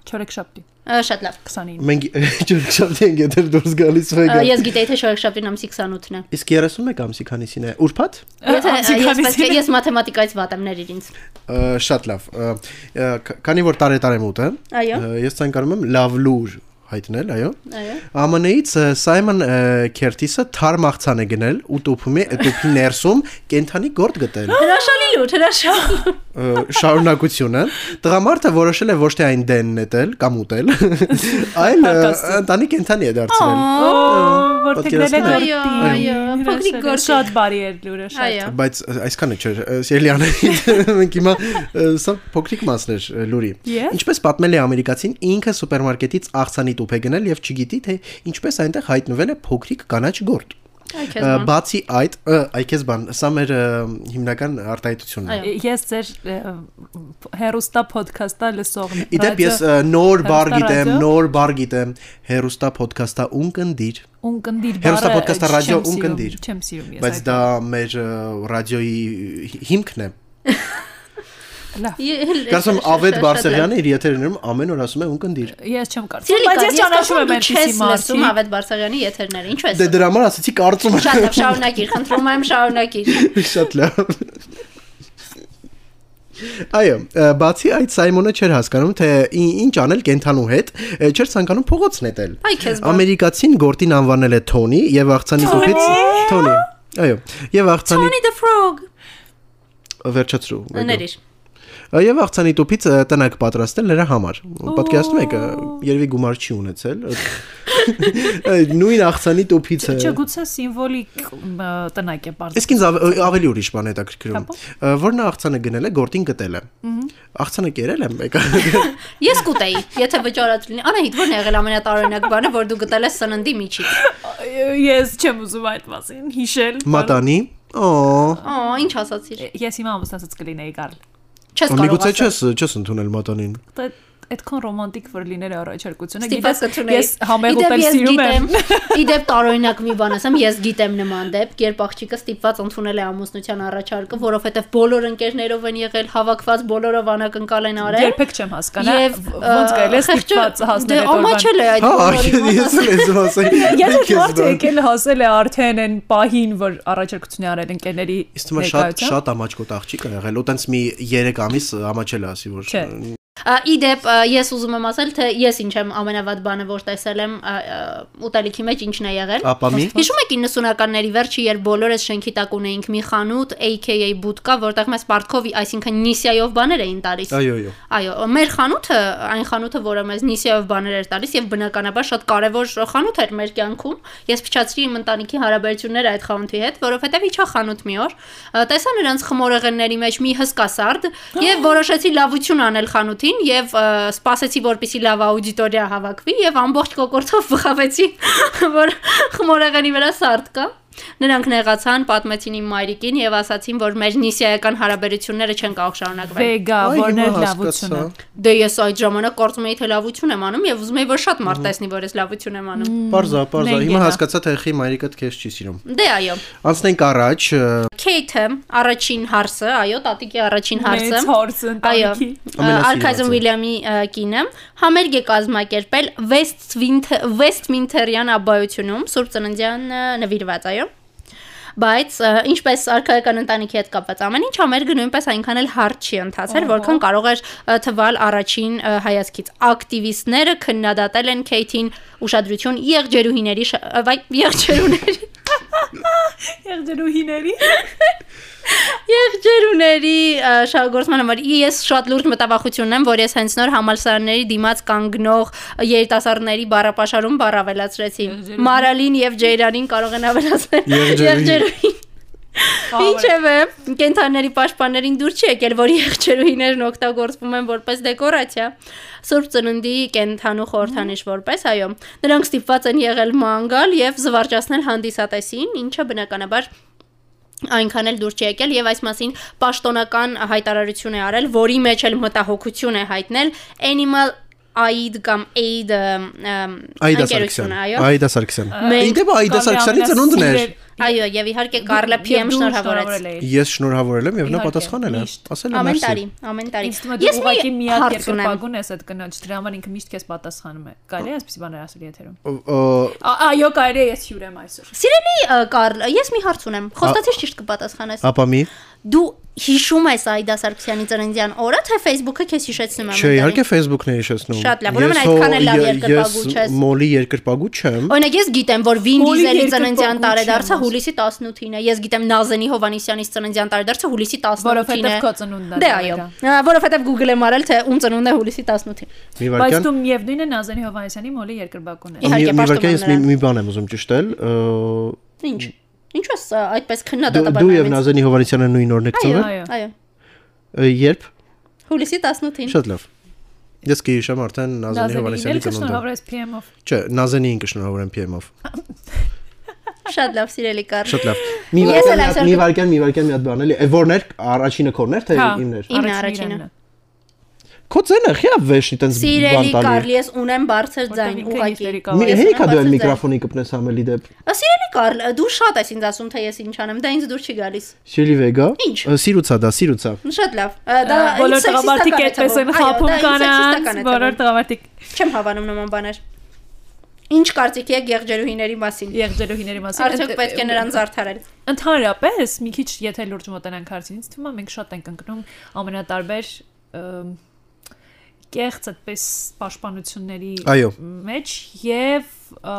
Speaker 3: Չորեքշաբթի
Speaker 2: Ա, Շատ լավ։
Speaker 3: 29։
Speaker 1: Մենք չորեքշաբթի ենք եթե դուրս գալիս
Speaker 2: Ա,
Speaker 1: վեգա։
Speaker 2: Ես գիտեի թե շորեքշաբթին ամսի 28-ն է։
Speaker 1: Իսկ 31 ամսի քանիսին է։ Ուրբաթ։
Speaker 2: Եթե ա,
Speaker 3: Ամսի
Speaker 2: ես պետք է
Speaker 3: քանիսին։
Speaker 2: ես մաթեմատիկայից վատ եմ ներ իրինց։
Speaker 1: Ա, Շատ լավ։ Ա, ա, ք- Քանի որ տարեթարե մոտ է,
Speaker 2: Այո։
Speaker 1: ա, ես ցանկանում եմ լավ լուր հայտնել, այո։
Speaker 2: Այո։
Speaker 1: ԱՄՆ-ից Սայմոն Քերտիսը թարմ աղցան է գնել ու տուփի տուփի ներսում կենթանի գործ գտել։
Speaker 2: Հրաշալի լուր, հրաշալի։
Speaker 1: Ա, շարունակությունը տղամարդը որոշել է ոչ թե այն դենն էտել կամ ուտել, այլ ա,
Speaker 3: Հակասը։
Speaker 1: ընտանի կենթանի է դարձել։
Speaker 3: Օ, Որ թեգնել է
Speaker 1: Պատկերացնում
Speaker 2: Այո,
Speaker 3: դորտի։
Speaker 2: այո, փոքրիկ գործի։
Speaker 3: Շատ բարի էր լուրը, շատ։
Speaker 2: Այո։
Speaker 1: Բայց ա, այսքանը չէր, Սիրլիանը մենք հիմա ա, սա փոքրիկ մասն էր ա, լուրի։
Speaker 3: Եվ?
Speaker 1: Ինչպես պատմել է ամերիկացին, ինքը սուպերմարկետից աղցանի տուփ է գնել եւ չգիտի թե ինչպես այնտեղ հայտնվել է փոքրիկ կանաչ գործ։ Ա,
Speaker 2: Այքեզ բան։
Speaker 1: Բացի այդ, ը, այ քեզ բան, սա մեր ը, հիմնական արտահայտությունն է։
Speaker 2: Այո։
Speaker 3: Ես ձեր ը, հերոստա ոդքասթա լսողն եմ։
Speaker 1: Իդեպ ես ը, նոր բար
Speaker 3: հերոստա
Speaker 1: գիտեմ,
Speaker 3: ռադիո։
Speaker 1: նոր բար գիտեմ, հերոստա ոդքասթա ունկնդիր,
Speaker 3: Ունկնդիր բառը։
Speaker 1: Հերոստա պոդքասթա
Speaker 3: չեմ
Speaker 1: ռադիո
Speaker 3: սիրում,
Speaker 1: ունկնդիր։
Speaker 3: Չեմ սիրում ես։
Speaker 1: բայց
Speaker 3: այդ։
Speaker 1: դա մեր ը, ռադիոյի հի- հիմքն է։
Speaker 3: Լավ։
Speaker 1: Կարծում եմ Ավետ Բարսեղյանը իր եթերներում ամեն օր ասում է ունկնդիր։
Speaker 3: Ես չեմ կարծում։
Speaker 2: Սիրելի
Speaker 3: Բայց
Speaker 2: կար,
Speaker 3: ես ճանաչում եմ այսպիսի մարդի։
Speaker 2: լսում Ավետ Բարսեղյանի եթերները։ Ինչու ես։
Speaker 1: Դե դրա համար ասացի կարծում
Speaker 2: Շատ լավ, շարունակիր, խնդրում եմ շարունակիր։
Speaker 1: եմ։ Շատ լավ։ Այո, ը, բացի այդ Սայմոնը չէր հասկանում, թե ի- ինչ անել կենթանու հետ, ը, չէր ցանկանում փողոցն էտել։
Speaker 2: Այ քեզ բան։
Speaker 1: Ամերիկացին գործին անվանել է Թոնի եւ աղցանի տուփից Թոնի։ Այո, եւ աղցանի
Speaker 2: Tony the Frog։
Speaker 1: վերջացրու։ Վեգա։
Speaker 2: Ներիր։
Speaker 1: Եվ աղցանի տուփից ը, տնակ պատրաստել նրա համար։ Պատկերացնում եք, ը, երևի գումար չի ունեցել։ ը, Նույն աղցանի տուփից է։
Speaker 3: Չէ, գուցե սիմվոլիկ մ, տնակ է բարձր։
Speaker 1: Իսկ ինձ ավ- ավելի ուրիշ բան է հետաքրքրում։ ը, Որ նա աղցանը գնել է, գործին գտել է։ Աղցանը կերել է մեկը։
Speaker 2: Ես կուտեի, եթե վճարած լինի։ Անահիտ, ո՞րն է եղել ամենատարօրինակ բանը, որ դու գտել ես սննդի միջից։
Speaker 3: Ես չեմ ուզում այդ մասին հիշել։
Speaker 1: Մատանի։ Օ։
Speaker 2: Օ, ինչ ասացիր։
Speaker 3: Ես հիմա ամուսնացած կլինեի Կարլ։
Speaker 2: Չես կարող։
Speaker 1: Միգուցե
Speaker 2: ասել։
Speaker 1: չես չես ընդունել մատանին։
Speaker 3: Դա այդքան ռոմանտիկ որ լիներ առաջարկությունը։
Speaker 2: Ստիպված կթունեի։
Speaker 3: ես համեղուտել սիրում եմ։
Speaker 2: Իդեպ տարօրինակ մի բան ասեմ, ես գիտեմ նման դեպք, երբ աղջիկը ստիպված ընդունել է ամուսնության առաջարկը, որովհետև բոլոր ընկերներով են եղել, հավաքված բոլորով անակնկալ են արել։
Speaker 3: Երբեք չեմ հասկանա
Speaker 2: Եվ,
Speaker 3: ոնց գալ ես
Speaker 2: խեղճը-
Speaker 1: Հա,
Speaker 2: Դե ամաչել է այդ
Speaker 3: ստիպված հասնել այդ օրվան։
Speaker 2: բոլորին
Speaker 1: ես էլ եմ ասել։
Speaker 3: Ես այդ մարդը եկել հասել է արդեն այն պահին, որ առաջարկություն է արել ընկերների
Speaker 1: Իսկ թվում է շատ շատ ամաչկոտ աղջիկ է եղել, ու տենց մի 3 ամիս ամաչել է ասի որ։
Speaker 3: Չէ։
Speaker 2: Ա, Իդեպ ա, ես ուզում եմ ասել, թե ես ինչ եմ ամենավատ բանը որ տեսել եմ ա, ա, ուտելիքի մեջ ինչն է եղել։
Speaker 1: Ապա մի։
Speaker 2: Հիշում եք 90-ականների վերջը, երբ բոլորս շենքի տակ ունեինք մի խանութ, AKA բուտկա, որտեղ մեզ Պարտքով, այսինքն նիսիայով բաներ էին տալիս։
Speaker 1: Այո, այո։
Speaker 2: Այո, մեր խանութը, այն խանութը, որը մեզ նիսիայով բաներ էր տալիս եւ բնականաբար շատ կարեւոր խանութ էր մեր կյանքում։ Ես փչացրի իմ ընտանիքի հարաբերությունները այդ խանութի հետ, որովհետեւ իջա խանութ մի օր, ա, տեսա նրանց խմորեղենների մեջ մի հսկա սարդ եւ որոշեցի լավություն անել խանութին եւ ա, սպասեցի, որպեսի լավ աուդիտորիա հավաքվի եւ ամբողջ կոկորտով վխավեցի, որ խմորեղենի վրա սարդ կա։ Նրանք նեղացան, պատմեցին իմ մայրիկին եւ ասացին, որ մեր նիսիայական հարաբերությունները չեն կարող շարունակվել։
Speaker 3: վեգա,
Speaker 1: Այ,
Speaker 3: որն
Speaker 1: հիմա
Speaker 3: է
Speaker 1: հասկացա։
Speaker 3: լավությունը։
Speaker 2: Դե ես այդ ժամանակ կարծում էի թե լավություն եմ անում եւ ուզում էի որ շատ մարդ տեսնի որ ես լավություն եմ անում։
Speaker 1: Պարզա, պարզա։
Speaker 3: Մենք
Speaker 1: Հիմա
Speaker 3: էնա։
Speaker 1: հասկացա թե խի մայրիկդ քեզ չի սիրում։
Speaker 2: Դե այո։
Speaker 1: Անցնենք առաջ, ը,
Speaker 2: educate-ը առաջին հարցը, այո, տատիկի առաջին հարցը։
Speaker 3: Մեծ հարց ընտանիքի։
Speaker 1: Ամենասիրված
Speaker 2: Արքայզեն
Speaker 1: է։
Speaker 2: Ուիլյամի ա, կինը համերգ է կազմակերպել Westminster Westminster-յան աբայությունում Սուրբ Ծննդյան ա, նվիրված, այո։ Բայց ա, ինչպես արքայական ընտանիքի հետ կապված ամեն ինչ համերգը նույնպես այնքան էլ հարթ չի ընթացել, որքան կարող էր ա, թվալ առաջին ա, հայացքից։ Ակտիվիստները քննադատել են Քեյթին ուշադրություն եղջերուհիների շ- ա, վայ եղջերուների
Speaker 3: Եղջերուհիների։
Speaker 2: Եղջերուների ա, շահագործման համար ես շատ լուրջ մտավախություն ունեմ, որ ես հենց նոր համալսարանների դիմաց կանգնող երիտասարդների բառապաշարում բառ ավելացրեցի։ Մարալին եւ Ջեյրանին կարող են ավելացնել
Speaker 1: Եղջերուհի։
Speaker 2: եղջերուհի։ Ինչևէ, կենթանիների պաշտպաններին դուր չի եկել, որ եղջերուհիներն օգտագործվում են որպես դեկորացիա։ Սուրբ ծննդի կենթանու խորհրդանիշ որպես, այո։ Նրանք ստիպված են եղել մանգալ եւ զվարճացնել հանդիսատեսին, ինչը բնականաբար այնքան էլ դուր չի եկել եւ այս մասին պաշտոնական հայտարարություն է արել, որի մեջ էլ մտահոգություն է հայտնել Animal Aid կամ Aid ըմ, ըմ,
Speaker 1: Այդա
Speaker 2: ընկերությունը,
Speaker 1: Սարգսյան։
Speaker 2: այո։
Speaker 1: Այդա Սարգսյան։
Speaker 2: Մենք-
Speaker 1: Իդեպ Այդա Սարգսյանի ծնունդն էր։
Speaker 2: Այո, եւ իհարկե Կարլը PM շնորհավորեց։
Speaker 1: Ես շնորհավորել եմ եւ նա
Speaker 3: Իհարկե,
Speaker 1: պատասխանել է։
Speaker 3: միշտ։
Speaker 1: Ասել եմ
Speaker 2: Ամեն
Speaker 1: մերսի։
Speaker 2: տարի, ամեն տարի։
Speaker 3: Ինձ թվում է դու ուղղակի միակ
Speaker 2: հարց ունեմ։
Speaker 3: երկրպագուն ես այդ կնոջ, դրա համար ինքը միշտ քեզ պատասխանում է։ Կարելի է այսպեսի բաներ ասել եթերում։
Speaker 1: Ա,
Speaker 3: Ա- Այո, կարելի է, ես հյուրեմ այսօր։
Speaker 2: Սիրելի ը, Կարլ, ես մի հարց ունեմ։ Խոստացիր ճիշտ կպատասխանես։
Speaker 1: Ապա մի։
Speaker 2: Դու հիշում ես Այդա Սարգսյանի ծննդյան օրը, թե Facebook-ը քեզ հիշեցնում է։
Speaker 1: Չէ,
Speaker 2: ամեն
Speaker 1: իհարկե Facebook-ն է հիշեցնում։
Speaker 2: Շատ լավ, ուրեմն
Speaker 1: Ես
Speaker 2: այդքան
Speaker 1: հո-
Speaker 2: էլ լավ
Speaker 1: ե-
Speaker 2: երկրպագու չես։
Speaker 1: Ես մոլի երկրպագու չեմ։
Speaker 2: Օրինակ ես գիտեմ, որ Vin Diesel-ի
Speaker 3: Բոլի երկրպագու
Speaker 2: ծննդյան
Speaker 3: չեմ
Speaker 2: տարեդարձը
Speaker 3: ասում։
Speaker 2: հուլիսի 18-ին է։ Ես գիտեմ Նազենի Հովանեսյանի ծննդյան տարեդարձը հուլիսի 18-ին է։
Speaker 3: Որովհետև քո ծնունդն է
Speaker 2: Դե
Speaker 3: տարեդա։
Speaker 2: այո, ա, որովհետև Google-ը մարել թե ում ծնունդն է հուլիսի 18-ին։
Speaker 1: Մի
Speaker 3: Բայց
Speaker 1: վարքան։
Speaker 3: դու միևնույնն է Նազանի Հովանեսյանի մոլի երկրպագուն
Speaker 2: Իհարկե,
Speaker 3: ես։
Speaker 1: Մի մի վարքան ես մի մի
Speaker 2: պաշտում եմ
Speaker 1: բան եմ ուզում ճշտել։ Ա,
Speaker 2: Ինչ։ Ինչ ես ա, այդպես
Speaker 1: դու-
Speaker 2: քննադատաբար։
Speaker 1: Դու եւ Նազենի Հովանեսյանը նույն օրն եք ծնվել։
Speaker 3: Այո։
Speaker 2: Այո,
Speaker 1: Ա, Երբ։
Speaker 2: հուլիսի 18-ին։
Speaker 1: Շատ լավ։ Ես կհիշեմ արդեն Նազենի
Speaker 3: Նազանին էլ
Speaker 1: Հովանեսյանի ծնունդը։
Speaker 3: շնորհավորես PM-ով։
Speaker 1: Չէ, Նազենի ինքը շնորհավորեմ PM-ով։
Speaker 2: Շատ լավ, սիրելի Կարլ։
Speaker 1: Շատ լավ։ Մի
Speaker 2: Ես էլ այսօր
Speaker 1: վարքան, մի
Speaker 2: կտ-
Speaker 1: վարքան, մի վարքան մի հատ բան էլի։ Է Որներ առաջինը կորներ
Speaker 3: Հա,
Speaker 2: Հա։
Speaker 1: թե իմներ։
Speaker 2: Իմն է
Speaker 3: առաջինն
Speaker 2: առաջինը։
Speaker 3: է։
Speaker 1: Քո ցենը խիա վեշի տենց բան
Speaker 2: Սիրելի
Speaker 1: տալի։
Speaker 2: Կարլ, ես ունեմ բարձր ձայն,
Speaker 3: ինքը
Speaker 2: ուղղակի։
Speaker 3: հիստերիկ
Speaker 2: Ես
Speaker 1: Մի
Speaker 2: ունեմ
Speaker 1: հեքա դու
Speaker 2: բարձր
Speaker 1: այն
Speaker 2: ձայն։
Speaker 1: միկրոֆոնի կպնես ամելի դեպ։
Speaker 2: Ա, Սիրելի Կարլ, դու շատ ես ինձ ասում, թե ես ինչ անեմ, դա ինձ դուր չի գալիս։
Speaker 1: Սիրելի Վեգա։
Speaker 2: Ինչ։
Speaker 1: Ա, Սիրուցա դա, սիրուցա։
Speaker 2: Շատ լավ։ ա, Դա
Speaker 3: Ա, Բոլոր
Speaker 2: ինձ
Speaker 3: տղամարդիկ
Speaker 2: սեքսիստական է թվում, այո,
Speaker 3: այդպես են խափում
Speaker 2: դա ինձ սեքսիստական է
Speaker 3: կանանց,
Speaker 2: թվում։
Speaker 3: բոլոր տղամարդիկ
Speaker 2: Չեմ հավանում նման բաներ։ Ինչ կարծիք եք եղջերուհիների մասին։
Speaker 3: եղջերուհիների մասին։
Speaker 2: Արդյոք պետք է նրան զարդարել։
Speaker 3: Ընդհանրապես, մի քիչ եթե լուրջ մտանանք հարցին, ինձ թվում է մենք շատ ենք ընկնում ամենատարբեր ըմ, կեղծ այդպես պաշտպանությունների
Speaker 1: Այո։
Speaker 3: մեջ եւ ա,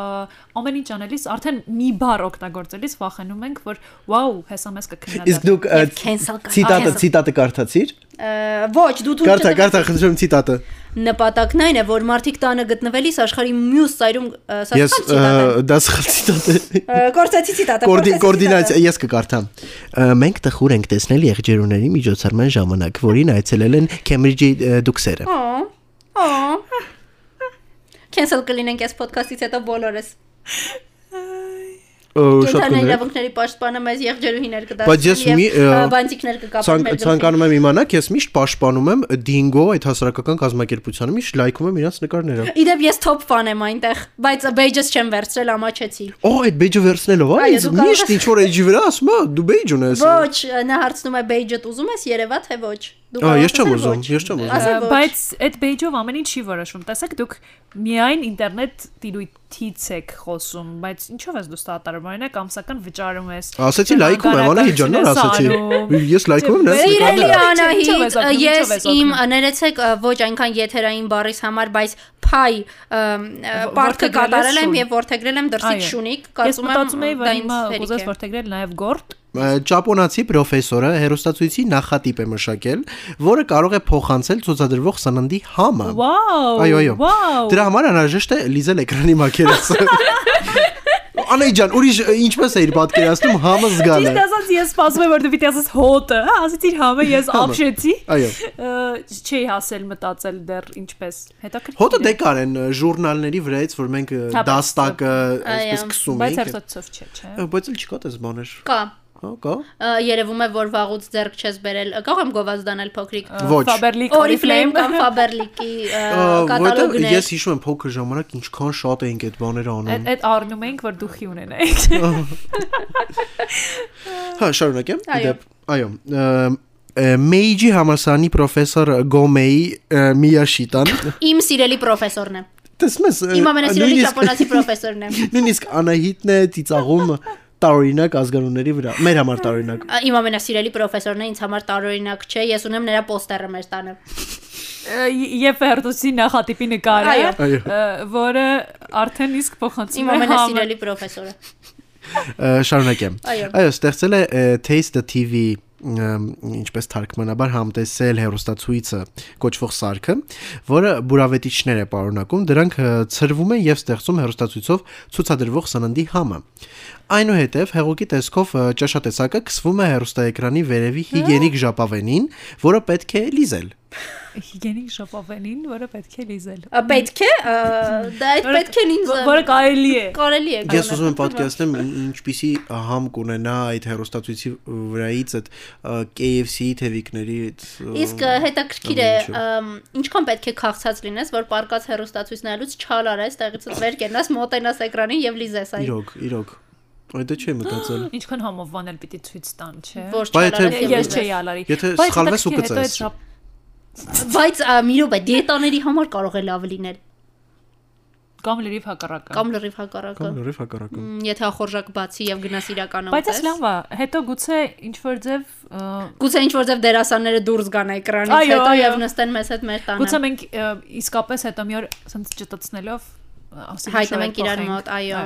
Speaker 3: ամեն ինչ անելիս արդեն մի բառ օգտագործելիս վախենում ենք, որ վաու, հեսա մեզ
Speaker 1: Իսկ
Speaker 3: կքննադատեն։
Speaker 1: դուք ա,
Speaker 2: Եվ cancel կար-
Speaker 1: ցիտատը
Speaker 2: cancel-
Speaker 1: ցիտատը կարդացիր։
Speaker 2: Ա, Ոչ, դու թույլ
Speaker 1: Կարդա,
Speaker 2: չտվես։
Speaker 1: կարդա, խնդրեմ ցիտատը։
Speaker 2: Նպատակն այն է, որ մարդիկ տանը գտնվելիս աշխարհի մյուս ծայրում ա, սա
Speaker 1: Ես
Speaker 2: սխալ ցիտատ
Speaker 1: ա, դա սխալ ցիտատ
Speaker 2: է։
Speaker 1: է։
Speaker 2: Ա, Կորցեցի ցիտատը։
Speaker 1: Կորդի-
Speaker 2: կորցեցի
Speaker 1: Կոորդինացիա
Speaker 2: ցիտատը։
Speaker 1: ես կկարդամ։ Ա, Մենք տխուր ենք տեսնել եղջերուների միջոցառման ժամանակ, որին այցելել են Քեմբրիջի ա, դուքսերը։
Speaker 2: Օ, Օ։ Cancel կլինենք այս ոդքասթից հետո բոլորս։
Speaker 1: Ա, Շատ
Speaker 2: Կենթանի
Speaker 1: կներեք։
Speaker 2: իրավունքների պաշտպանը մեզ եղջերուհիներ կդարձնեն։
Speaker 1: Բայց ես մի, ա,
Speaker 2: բանտիկներ կկապեն։
Speaker 1: Ցանկ- Ցանկանում եմ իմանալ, ես միշտ պաշտպանում եմ Dingo այդ հասարակական կազմակերպությանը, միշտ լայքում եմ իրանց նկարները։
Speaker 2: Իդեպ ես top fan եմ այնտեղ, բայց բեյջս չեմ վերցրել, ամաչեցի։
Speaker 1: Օ, այդ բեյջը վերցնելով,
Speaker 2: Այո,
Speaker 1: այս
Speaker 2: դու կարող
Speaker 1: միշտ
Speaker 2: ես-
Speaker 1: ինչ որ էջի վրա ասում է, դու բեյջ ունես։
Speaker 2: Ոչ, նա հարցնում է բեյջդ ուզում ես Երևա թե ոչ։ Դու
Speaker 1: Ա,
Speaker 2: կարող
Speaker 1: ես չեմ
Speaker 2: ասել
Speaker 1: ուզում,
Speaker 2: ոչ։
Speaker 1: ես չեմ ուզում։
Speaker 2: Ասել ոչ։
Speaker 3: բայց այդ page-ով ամեն ինչ չի որոշվում։ Տեսեք, դուք միայն ինտերնետ տիրույթից եք խոսում, բայց ինչով ես դու ստատարում, օրինակ ամսական վճարում ես։
Speaker 1: Ասացի լայքում եմ, Անահիտ ջան, նոր ասացի։ Ես լայքում եմ, նրանց
Speaker 2: Սիրելի
Speaker 1: նկարները։
Speaker 3: Ինչո՞վ
Speaker 2: Անահիտ,
Speaker 3: ես օգնում, ինչո՞վ
Speaker 2: ես
Speaker 3: ես օգնում։
Speaker 2: իմ ներեցեք ա, ոչ այնքան եթերային բառից համար, բայց փայ պարտքը
Speaker 3: որդեգրել ես
Speaker 2: կատարել եմ
Speaker 3: շուն։
Speaker 2: եւ որդեգրել եմ դրսից շունիկ,
Speaker 3: Ես
Speaker 2: կարծում եմ
Speaker 3: մտածում եի, որ
Speaker 2: դա ինձ
Speaker 3: հիմա
Speaker 2: հերիք
Speaker 3: ուզես
Speaker 2: է։
Speaker 3: որթեգրել նաև գորտ։
Speaker 1: Ա, Ճապոնացի պրոֆեսորը հերոստացույցի նախատիպ է մշակել, որը կարող է փոխանցել ցուցադրվող սննդի համը։
Speaker 3: Վաու։
Speaker 1: Այո, այո։
Speaker 3: Վաու։
Speaker 1: Դրա համար անհրաժեշտ է լիզել էկրանի մակերեսը։ Անեի ջան, ուրիշ ա, ինչպես է իր պատկերացնում համը զգալը։
Speaker 3: Ճիշտ ասած ես սպասում եմ որ դու պիտի ասես հոտը, հա, ասեցիր համը ես ապշեցի։
Speaker 1: Այո։
Speaker 3: Ա, Չի հասել մտածել դեռ ինչպես։ Հետաքրքիր։
Speaker 1: Հոտը
Speaker 3: է,
Speaker 1: դե կար են ա, ժուրնալների վրայից, որ մենք ա,
Speaker 3: Թափ-
Speaker 1: դաստակը
Speaker 2: Հա, Այո,
Speaker 1: այսպես կսում
Speaker 3: բայց
Speaker 1: ենք։
Speaker 3: հերթոցով չէ, չէ։
Speaker 1: Ա, Բայց էլ չկա դες բաներ։
Speaker 2: Կա։
Speaker 1: Հա, կա։
Speaker 2: Ա, Երևում է, որ վաղուց ձեռք չես բերել։ Կարող եմ գովազդանել փոքրիկ
Speaker 1: Ոչ։
Speaker 3: Faberlic
Speaker 2: Oriflame կամ Faberlic-ի ա,
Speaker 1: Որտեւ
Speaker 2: կատալոգներ։
Speaker 1: ես հիշում եմ փոքր ժամանակ ինչքան շատ էինք այդ բաները անում։
Speaker 3: Այդ այդ առնում էինք, որ դուխի ունենայիք։
Speaker 1: Հա, շարունակեմ։ ի
Speaker 2: Այո։
Speaker 1: Դեպ, այո։ ըմ, ը, Մեիջի համասանի պրոֆեսոր Գոմեի ը, Միյաշիտան։
Speaker 2: Իմ սիրելի պրոֆեսորն է։
Speaker 1: Տեսնում ես։ ը,
Speaker 2: Իմ ամենասիրելի
Speaker 1: նույնիսկ-
Speaker 2: ճապոնացի պրոֆեսորն է։
Speaker 1: Նույնիսկ Անահիտն է ծիծաղում տարօրինակ ազգանունների վրա։ Մեր համար տարօրինակ։
Speaker 2: Ա, Իմ ամենասիրելի պրոֆեսորն է, ինձ համար տարօրինակ չէ, ես ունեմ նրա պոստերը մեր տանը։
Speaker 3: Եվ Ֆերդոսի նախատիպի նկարը,
Speaker 2: Այո։
Speaker 1: Այո։
Speaker 3: ը, որը արդեն իսկ փոխանցում
Speaker 2: Իմ
Speaker 3: է համը-
Speaker 2: ամենասիրելի պրոֆեսորը։
Speaker 1: Ը, Շարունակեմ։
Speaker 2: Այո։
Speaker 1: Այո, ստեղծել է ը, Taste the TV ըմ, ինչպես թարգմանաբար համտեսել հերոստացույցը կոչվող սարքը, որը բուրավետիչներ է պարունակում, դրանք ը, ցրվում են եւ ստեղծում հերոստացույցով ցուցադրվող սննդի համը։ Այնուհետև հեղուկի տեսքով ը, ճաշատեսակը կսվում է հերոստաեկրանի վերևի հիգենիկ ժապավենին, որը պետք է լիզել։
Speaker 3: հիգենիկ շապավենին, որը պետք է լիզել։
Speaker 2: Ա, Պետք է, ա, դա այդ
Speaker 3: Որը-
Speaker 2: պետք է ինձ ա,
Speaker 3: Որը կարելի է։
Speaker 2: կարելի է։
Speaker 1: Ես
Speaker 2: կանոնակապ-
Speaker 1: ուզում եմ պատկերացնեմ ին- ինչպիսի համ կունենա այդ հերոստացույցի վրայից այդ ը, KFC թևիկների այդ ը,
Speaker 2: Իսկ ա, հետաքրքիր է,
Speaker 1: Ինչո՞ւ։
Speaker 2: ամ, ինչքան պետք է քաղցած լինես, որ պարկած հերոստացույց նայելուց չալարես, տեղից դ վեր կենաս, մոտենաս էկրանին եւ լիզես այն։
Speaker 1: Իրոք, իրոք։ Այդ դե չի մտածել։
Speaker 3: Ինչքան համովան էլ պիտի ցույց տան, չէ։
Speaker 2: Որ
Speaker 1: Բայց եթե-
Speaker 2: չալարես։ եւ
Speaker 3: Ես
Speaker 2: լիզես։
Speaker 3: չէի ալարի։
Speaker 1: Եթե
Speaker 3: Բայց
Speaker 1: սխալվես ու
Speaker 3: հետաքրքիր, հետո
Speaker 1: կծես։
Speaker 3: այդ շապ-
Speaker 2: Բայց ա, մի րոպե, դիետաների համար կարող է լավ լինել
Speaker 3: Կամ լրիվ հակառակը։
Speaker 2: կամ լրիվ հակառակը։
Speaker 1: Կամ նորից հակառակը։
Speaker 2: Մ, Եթե ախորժակ բացի եւ գնաս իրականում։
Speaker 3: Բայց այս լավ է, հետո գուցե ինչ որ ձև ը,
Speaker 2: Գուցե ինչ որ ձև դերասանները դուրս գան էկրանից
Speaker 3: Այո,
Speaker 2: հետո
Speaker 3: այո։
Speaker 2: եւ նստեն մեզ հետ մեր
Speaker 3: գուցե
Speaker 2: տանը։
Speaker 3: մենք ը, իսկապես հետո մի օր ասենց ճտտցնելով ասենք
Speaker 2: Հայտնենք իրար մոտ, այո։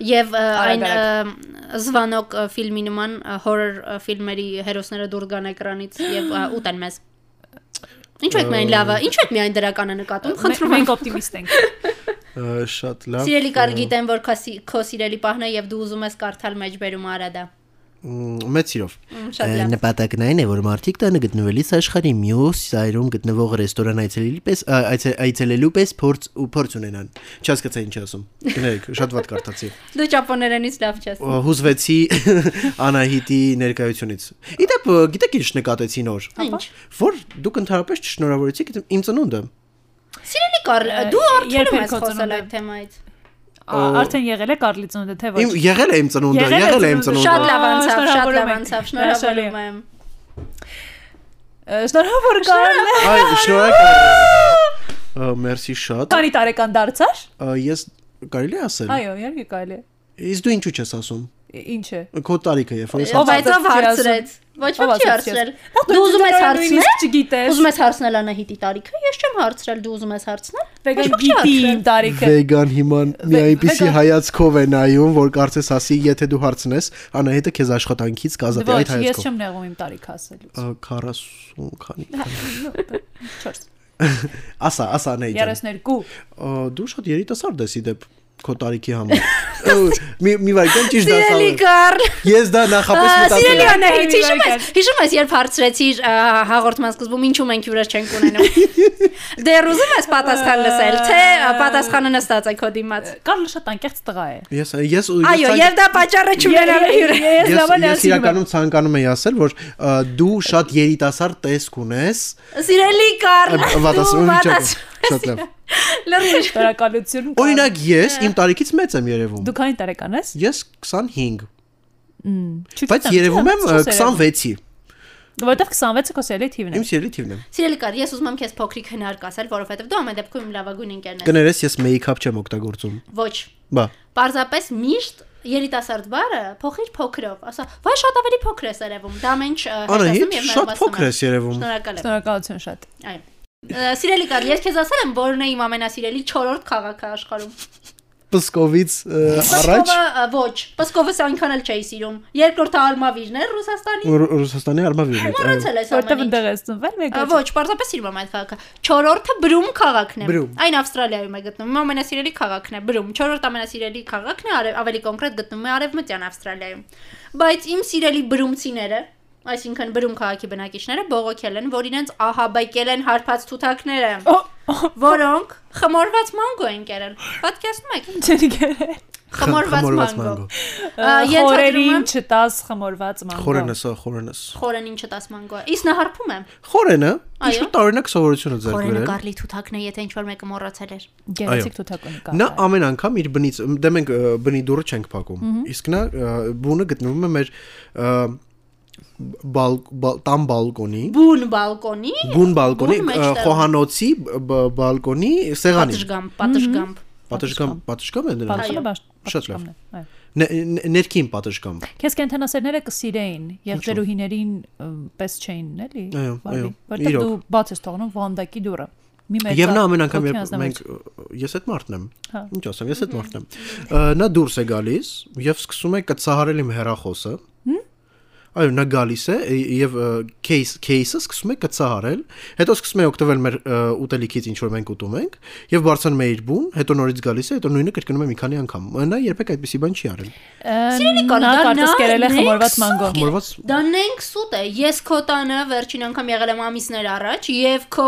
Speaker 2: Եւ ա, այն ա, զվանոկ ա, ֆիլմի նման ա, horror ա, ֆիլմերի հերոսները դուրս գան էկրանից եւ ա, ուտեն մեզ։ Ինչու եք միայն լավը, ինչու եք միայն դրականը նկատում։ Խնդրում եմ,
Speaker 3: Մենք օպտիմիստ ենք։
Speaker 1: Ա, Շատ լավ։
Speaker 2: սիրելի կար գիտեմ, որ քո սի- քո սիրելի պահն է եւ դու ուզում ես կարդալ մեջբերում արա դա։
Speaker 1: Մ, Մեծ սիրով։
Speaker 2: Մ, շատ լավ։
Speaker 1: Նպատակն այն է, որ մարդիկ տանը գտնվելիս աշխարհի մյուս այրում գտնվող ռեստորան այցելելու պես ա, այցե- այցելելու պես փորձ ու փորձ ունենան։ Չհասկացա ինչ ասում։ Գնայք, շատ վատ կարդացի։
Speaker 2: Դու ճապոներենից լավ չես։
Speaker 1: Ա, Հուզվեցի Անահիտի ներկայությունից։ Իդեպ գիտեք ինչ նկատեցի նոր։
Speaker 2: Ինչ։
Speaker 1: Որ դուք ընդհանրապես չշնորհավորեցիք իդ- իմ ծնունդը։
Speaker 2: Սիրելի Կարլ,
Speaker 3: Ա,
Speaker 2: դու
Speaker 3: երբ
Speaker 2: արդյունքում ես
Speaker 3: եք քո
Speaker 2: խոսել
Speaker 3: ծնունդը։
Speaker 2: այդ թեմայից։
Speaker 3: Ա, Արդեն եղել է Կարլիցոնը, թե ոչ։
Speaker 1: Իմ եղել է իմ ծնունդը, եղել է իմ
Speaker 3: ծնունդը։
Speaker 2: Շատ
Speaker 1: ծնունդը։
Speaker 2: լավ
Speaker 3: Ա,
Speaker 2: անցավ, շատ լավ
Speaker 3: շնորհավորում ենք,
Speaker 2: անցավ,
Speaker 3: հրաշալի
Speaker 2: շնորհավորում եմ։
Speaker 3: Ա, Շնորհավոր Կարլ։
Speaker 1: Այ, շնորհակալ։ Ա, Մերսի շատ։
Speaker 3: Քանի տարեկան դարձար։
Speaker 1: Ա, ես կարելի է ասել։
Speaker 3: Այո, իհարկե կարելի է։
Speaker 1: Իսկ դու ինչու չես ասում։
Speaker 3: Ի- Ինչ է։
Speaker 1: Քո տարիքը երբ որ ես
Speaker 3: Ով
Speaker 1: ասում։
Speaker 3: այդ-
Speaker 2: Բայց ով
Speaker 3: ասացի,
Speaker 2: հարցրեց։ Ոչ
Speaker 3: Ով
Speaker 2: ոք չի
Speaker 3: ասացի
Speaker 2: հարցրել։
Speaker 3: ես։ Ա,
Speaker 2: Դու ուզում ես
Speaker 3: նույնիսկ
Speaker 2: հարցնել։
Speaker 3: չգիտես։
Speaker 2: Ուզում ես հարցնել Անահիտի տարիքը, ես չեմ հարցրել, դու ուզում ես հարցնել։
Speaker 3: Վեգան
Speaker 2: ոք չի
Speaker 3: գիտի
Speaker 2: հարցրել։
Speaker 3: իմ տարիքը։
Speaker 1: Վեգան հիմա մի
Speaker 3: Վե-
Speaker 1: այնպիսի
Speaker 3: վեգան-
Speaker 1: հայացքով է նայում, որ կարծես ասի, եթե դու հարցնես, անահիտը քեզ աշխատանքից կազատի
Speaker 3: Ոչ,
Speaker 1: այդ
Speaker 3: ես
Speaker 1: հայացքով։
Speaker 3: չեմ Հա։ նեղում իմ տարիքը ասելուց։
Speaker 1: Ա, 40 քանի։
Speaker 3: 4
Speaker 1: Ասա, ասա անահիտ ջան։
Speaker 3: 32
Speaker 1: Ա, Դու շատ երիտասարդ ես իդեպ քո տարիքի համար։ Ա, Մի մի վայրկյան ճիշտ
Speaker 2: Սիրելի
Speaker 1: ասա։
Speaker 2: Կարլ։
Speaker 1: Ես դա նախապես
Speaker 2: Ա, Սիրելի
Speaker 1: մտածել եմ։
Speaker 2: Անահիտ,
Speaker 3: Մի
Speaker 2: հիշում ես,
Speaker 3: վայրկյան։
Speaker 2: հիշում ես, երբ հարցրեցիր ա, հաղորդման սկզբում ինչու մենք հյուրեր չենք ունենում։ Դեռ ուզում ես պատասխան լսել, թե ա, պատասխանը նստած է քո դիմաց։
Speaker 3: Կարլը շատ անկեղծ տղա է։
Speaker 1: Ես ես ու-
Speaker 2: Այո,
Speaker 1: ես
Speaker 2: եւ դա պատճառը չունենալու հյուրեր։
Speaker 3: Ես
Speaker 1: Ես
Speaker 3: լավն
Speaker 1: ես իրականում ցանկանում եի ասել, որ ա, դու շատ երիտասարդ տեսք ունես։
Speaker 2: Սիրելի Կարլ։
Speaker 1: Ա, Վատացնում եմ վիճակը։ Շատ լավ։
Speaker 2: Լրիվ
Speaker 3: Տարակալություն։ կա։
Speaker 1: Օրինակ ես իմ տարիքից մեծ եմ երևում։
Speaker 3: դու քանի տարեկան ես։
Speaker 1: Ես 25,
Speaker 3: Չգիտեմ,
Speaker 1: բայց երևում եմ ը,
Speaker 3: չգիտեմ, ո՞նց երևում։
Speaker 1: 26-ի։
Speaker 3: Որտեվ 26-ը քո սիրելի թիվն է։
Speaker 1: Իմ սիրելի թիվն է։
Speaker 2: Սիրելի Կար, ես ուզում եմ քեզ փոքրիկ հնարք ասել, որովհետև դու ամեն դեպքում իմ լավագույն ընկերն ես։
Speaker 1: Կներես ես մեյքափ չեմ օգտագործում։
Speaker 2: Ոչ,
Speaker 1: Բա,
Speaker 2: պարզապես միշտ երիտասարդ բարը փոխիր փոքրով, ասա, վայ շատ ավելի փոքր ես երևում, դա մենք չ-
Speaker 1: Անահիտ,
Speaker 2: եւ
Speaker 1: շատ
Speaker 2: նորմալ
Speaker 1: փոքր
Speaker 2: ասում
Speaker 1: ես երևում։
Speaker 2: Շնորհակալ եմ։
Speaker 3: Շնորհակալություն շատ։
Speaker 2: Այո։ Ա, Սիրելի Կար, ես քեզ ասել եմ, որն է իմ ամենասիրելի 4-րդ քաղաքը աշխարհում։
Speaker 1: Պսկովից ը, առաջ
Speaker 2: Պսկովը, ա, ոչ, Պսկովս այնքան էլ չէի սիրում։ Երկրորդը Արմավիրն էր Ռուսաստանի։
Speaker 1: Ռ- Ռուսաստանի արմավիրնից։ այո։
Speaker 2: Մոռացել ես
Speaker 3: Որտեվ
Speaker 2: ամեն ինչ։
Speaker 3: ընդեղ ես ծնվել, մեկ
Speaker 2: Ա, Ոչ, պարզապես սիրում եմ այդ քաղաքը։ 4-րդը Բրում քաղաքն է։
Speaker 1: Բրում։
Speaker 2: Այն Ավստրալիայում է գտնվում։ Իմ ամենասիրելի քաղաքն է Բրում։ 4-րդ ամենասիրելի քաղաքն է, արև, ավելի կոնկրետ գտնվում է Արևմտյան Ավստրալիայում։ Բայց իմ սիրելի բրումցիները, այսինքն Բրում քաղաքի բնակիչները բողոքել են, որ իրենց ահաբեկել են հարբած թութակները,
Speaker 3: Ո- ո-
Speaker 2: որոնք խմորված մանգո են կերել։ Պատկերացնում եք։
Speaker 3: Չեն գերել։
Speaker 2: Խմորված մանգո։ Ա,
Speaker 3: Խորերին
Speaker 2: Ենթադրում եմ
Speaker 3: չտաս խմորված մանգո։
Speaker 1: Խորենս, ա, խորենս։
Speaker 2: խորեն ինչը տաս մանգո։ է։ Իս նահարփում եմ։
Speaker 1: Խորենը
Speaker 2: Այո։
Speaker 1: ինչու տարօրինակ սովորություն է ձեռք
Speaker 2: Խորենը
Speaker 1: բերել։
Speaker 2: կարլի թութակն է, եթե ինչ որ մեկը մոռացել էր։
Speaker 3: Գենետիկ թութակուն կա։
Speaker 1: Նա ամեն անգամ իր բնից դե մենք ը, բնի դուրը չենք փակում։ Իսկ նա ը, բունը գտնվում է մեր ը, բալ բալ- տան բալկոնի,
Speaker 2: Բուն բալկոնի,
Speaker 1: բուն բալկոնի,
Speaker 2: Բուն
Speaker 1: ը,
Speaker 2: մեջտեղը։
Speaker 1: խոհանոցի բ- բալկոնի սեղանին։
Speaker 2: պատշգամբ, պատշգամբ։
Speaker 1: Պատշգամ, պատշգամ է դրան։
Speaker 2: Այո,
Speaker 3: Բաշխը բաշ։
Speaker 1: շատ լավ։
Speaker 3: Այո։
Speaker 1: Ն- ն- Ներքին պատշգամ։
Speaker 3: Քեզ կենթանասերները կսիրեին, եղջերուհիներին ը, պես չէին, էլի։
Speaker 1: Այո,
Speaker 3: վարվի,
Speaker 1: այո,
Speaker 3: Որտեղ
Speaker 1: իրոք։
Speaker 3: դու բաց ես թողնում վանդակի դուռը։ Մի մեծ։
Speaker 1: Եվ նա ամեն անգամ երբ
Speaker 3: հոգեանձնավար-
Speaker 1: մենք ը, ես այդ մարդն եմ։
Speaker 3: Հա.
Speaker 1: Ինչ ասեմ, ես այդ մարդն եմ։ Ա, Նա դուրս է գալիս եւ սկսում է կծահարել իմ հերախոսը։ Այո, նա գալիս է ե- եւ ը, case case-ը սկսում է կծահարել, հետո սկսում է օգտվել մեր ը, ուտելիքից, ինչ որ մենք ուտում ենք, եւ բարձրանում է իր բուն, հետո նորից գալիս է, հետո նույնը կրկնում է մի քանի անգամ։ Նա երբեք այդպեսի բան չի արել։
Speaker 2: Սիրելի
Speaker 3: Ա,
Speaker 2: կան,
Speaker 3: Նա
Speaker 2: դա
Speaker 3: կարծես
Speaker 2: նա
Speaker 3: կերել է
Speaker 2: ինքն
Speaker 3: խմորված
Speaker 2: է
Speaker 3: մանգո։
Speaker 1: Մորված
Speaker 2: Դա նենք սուտ է։ Ես քո տանը վերջին անգամ եղել եմ ամիսներ առաջ եւ քո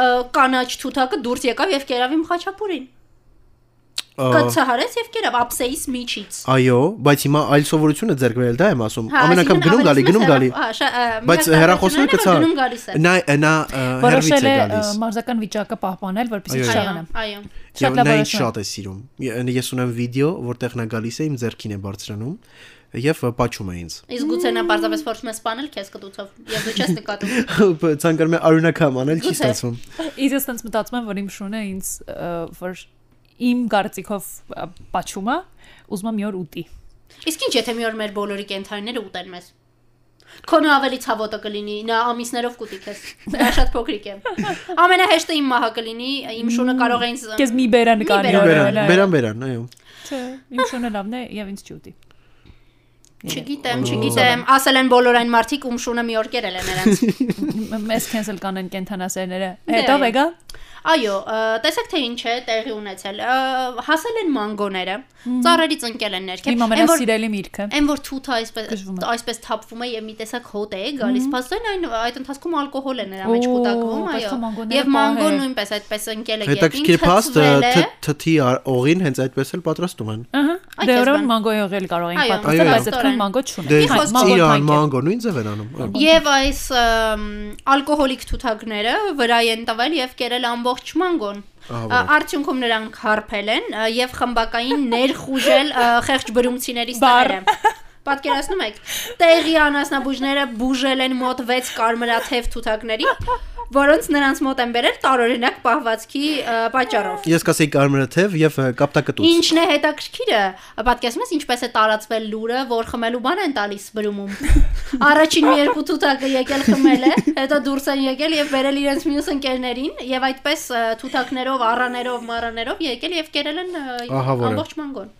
Speaker 2: ը, կանաչ թութակը դուրս եկավ եւ կերավ իմ խաչապուրին։ Կցահարեց եւ կերավ ապսեիս միջից։
Speaker 1: Այո, բայց հիմա այլ սովորություն է ձեռք բերել, դա եմ ասում։
Speaker 2: Հա,
Speaker 1: Ամեն անգամ
Speaker 2: այսինքն
Speaker 1: գնում գալի,
Speaker 2: ավելի
Speaker 1: գնում
Speaker 2: մեծ
Speaker 1: գալի։
Speaker 2: հեռախ- հա, շա- ա, մեծ
Speaker 1: Բայց հերախոսն է
Speaker 2: հեռախոսներն
Speaker 1: կցա։
Speaker 2: Գնում գալիս է։
Speaker 1: Նա նա ը, հերվից
Speaker 3: Որոշել
Speaker 1: է
Speaker 3: է ը,
Speaker 1: գալիս։
Speaker 3: մարզական վիճակը պահպանել, որպեսզի
Speaker 1: Այո, այո։
Speaker 3: չշաղանա։
Speaker 2: այո։
Speaker 1: Եվ
Speaker 3: Շատ լավ
Speaker 1: նա ինձ
Speaker 3: որոշում։
Speaker 1: շատ է սիրում։ Ե- Ես ունեմ վիդեո, որտեղ նա գալիս է իմ ձեռքին է բարձրանում եւ պաչում է ինձ։
Speaker 2: Իսկ գուցե նա պարզապես փորձում է սپانել քեզ կտուցով եւ դու չես նկատում։
Speaker 1: Ցանկանում է արունակամ անել, չի
Speaker 2: Գուցե։
Speaker 1: ստացվում։
Speaker 3: Իսկ ես տենց մտածում եմ, որ իմ շունը ինձ ը, որ իմ գարցիկով պաչումա, ուզում եմ մի օր ուտի։
Speaker 2: Իսկ ինչ եթե մի օր մեր բոլորի կենթանիները ուտեն մեզ։ Քոնը ավելի ցավոտը կլինի, նա ամիսներով կուտի քեզ։ Նա շատ փոքրիկ է։ Ամենահեշտը իմ մահը կլինի, իմ շունը կարող է ինձ
Speaker 3: Կեզ մի բերա նկարի
Speaker 2: բերա,
Speaker 1: Բերան,
Speaker 3: օրը,
Speaker 1: բերան, բերան, այո։
Speaker 3: Չէ, իմ շունը լավն է եւ ինձ չի ուտի։
Speaker 2: Չգիտեմ, չգիտեմ, ասել են բոլոր այն մարդիկ, ում շունը մի օր կերել է նրանց։
Speaker 3: Մ- Մեզ կենսել կանեն կենթանասերները։
Speaker 2: Դե,
Speaker 3: Հետո
Speaker 2: այո։
Speaker 3: վեգա։
Speaker 2: Այո, ը, տեսեք թե ինչ է տեղի ունեցել։ Ը, Հասել են մանգոները, ծառերից ընկել են
Speaker 3: Իմ
Speaker 2: ներքև։ Այն որ
Speaker 3: ամենասիրելի միրգը։
Speaker 2: այն որ թութը այսպես
Speaker 3: Գժվում Հա։ է։
Speaker 2: այսպես թափվում է եւ մի տեսակ հոտ է գալիս, փաստորեն այն այդ ընթացքում ալկոհոլ է նրա մեջ
Speaker 3: Օ,
Speaker 2: կուտակվում,
Speaker 3: պետք է
Speaker 2: այո։
Speaker 3: մանգոները
Speaker 2: Եվ մանգո
Speaker 3: պահել։
Speaker 2: նույնպես այդպես ընկել է
Speaker 1: Հետաքրքիր փաստ
Speaker 2: թթվել է։
Speaker 1: թթի օղին հենց այդպես էլ պատրաստում են։
Speaker 3: Ահա։
Speaker 2: Այ
Speaker 3: Դե
Speaker 2: քեզ
Speaker 3: օրոն
Speaker 2: բան։
Speaker 3: մանգո եղել կարող ենք
Speaker 2: Այո,
Speaker 3: պատմել,
Speaker 1: այո,
Speaker 3: բայց այդքան
Speaker 2: այո։
Speaker 3: մանգո
Speaker 1: Դե
Speaker 3: չունենք։ Այ,
Speaker 2: խոսքի
Speaker 3: մանգոն
Speaker 1: ծիրան,
Speaker 3: թանկ է։
Speaker 1: մանգո նույն ձև են անում։ այո։
Speaker 2: Եվ այս ըմ, ալկոհոլիկ թութակները վրա են տվել եւ կերել ամբողջ մանգոն։
Speaker 1: Ահա,
Speaker 2: Ա,
Speaker 1: որը։
Speaker 2: Արդյունքում նրանք հարփել են ա, եւ խմբակային ներխուժել ա, խեղճ բրումցիների
Speaker 3: Բառ։
Speaker 2: ստաները։ Պատկերացնում եք, տեղի անասնաբույժները բուժել են մոտ 6 կարմրաթև թութակների, որոնց նրանց մոտ են բերել տարօրինակ պահվածքի ա, պատճառով։
Speaker 1: Ես կասեի կարմրը թև եւ ը, կապտակտուց։
Speaker 2: Ինչն է հետաքրքիրը, պատկերացնում ես ինչպես է տարածվել լուրը, որ խմելու բան են տալիս բրումում։ Առաջին մի երկու թութակը եկել խմել է, հետո դուրս են եկել եւ վերել իրենց մյուս ընկերներին եւ այդպես ը, թութակներով, առաներով, մառաներով եկել եւ կերել են ը,
Speaker 1: Ահա որը։
Speaker 2: ամբողջ մանգոն։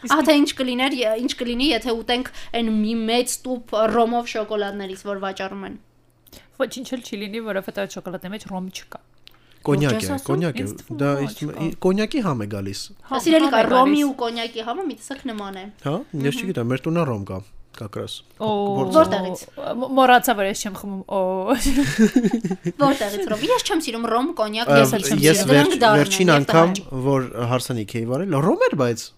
Speaker 2: Ահա թե ինչ կլիներ, ե- ինչ կլինի, եթե ուտենք այն մի մեծ տուփ ռոմով շոկոլադներից, որ վաճառում են։
Speaker 3: Ոչինչ էլ չի լինի, որովհետեւ այդ շոկոլադի մեջ ռոմ չկա։
Speaker 1: Կոնյակ
Speaker 2: Ո՞նց
Speaker 1: է,
Speaker 2: ես ասում,
Speaker 1: կոնյակ է։
Speaker 3: ինձ թվում,
Speaker 1: Դա
Speaker 3: ոչ,
Speaker 1: իսկ-
Speaker 3: կա։
Speaker 1: ի- կոնյակի համ է գալիս։
Speaker 3: Հա,
Speaker 2: Սիրելի կա,
Speaker 3: համ է
Speaker 2: ռոմի
Speaker 3: գալիս։
Speaker 2: ու կոնյակի համը մի տեսակ նման է։
Speaker 1: Հա, ես չգիտեմ, մեր տունը ռոմ կա, կակրաս։
Speaker 3: Օ,
Speaker 2: Որտեղից։
Speaker 3: մ- Մոռացա, որ ես չեմ խմում։ Օ,
Speaker 2: Որտեղից ռոմ։ Ես չեմ սիրում ռոմ, կոնյակ,
Speaker 1: Ա,
Speaker 2: ես էլ չեմ
Speaker 1: Ես
Speaker 2: սիրում։
Speaker 1: վերջ-
Speaker 2: Դրանք դառն են
Speaker 1: վերջին
Speaker 2: և
Speaker 1: անգամ
Speaker 2: տհաճ։
Speaker 1: որ հարսանիք էի վարել, ռոմ էր, բայց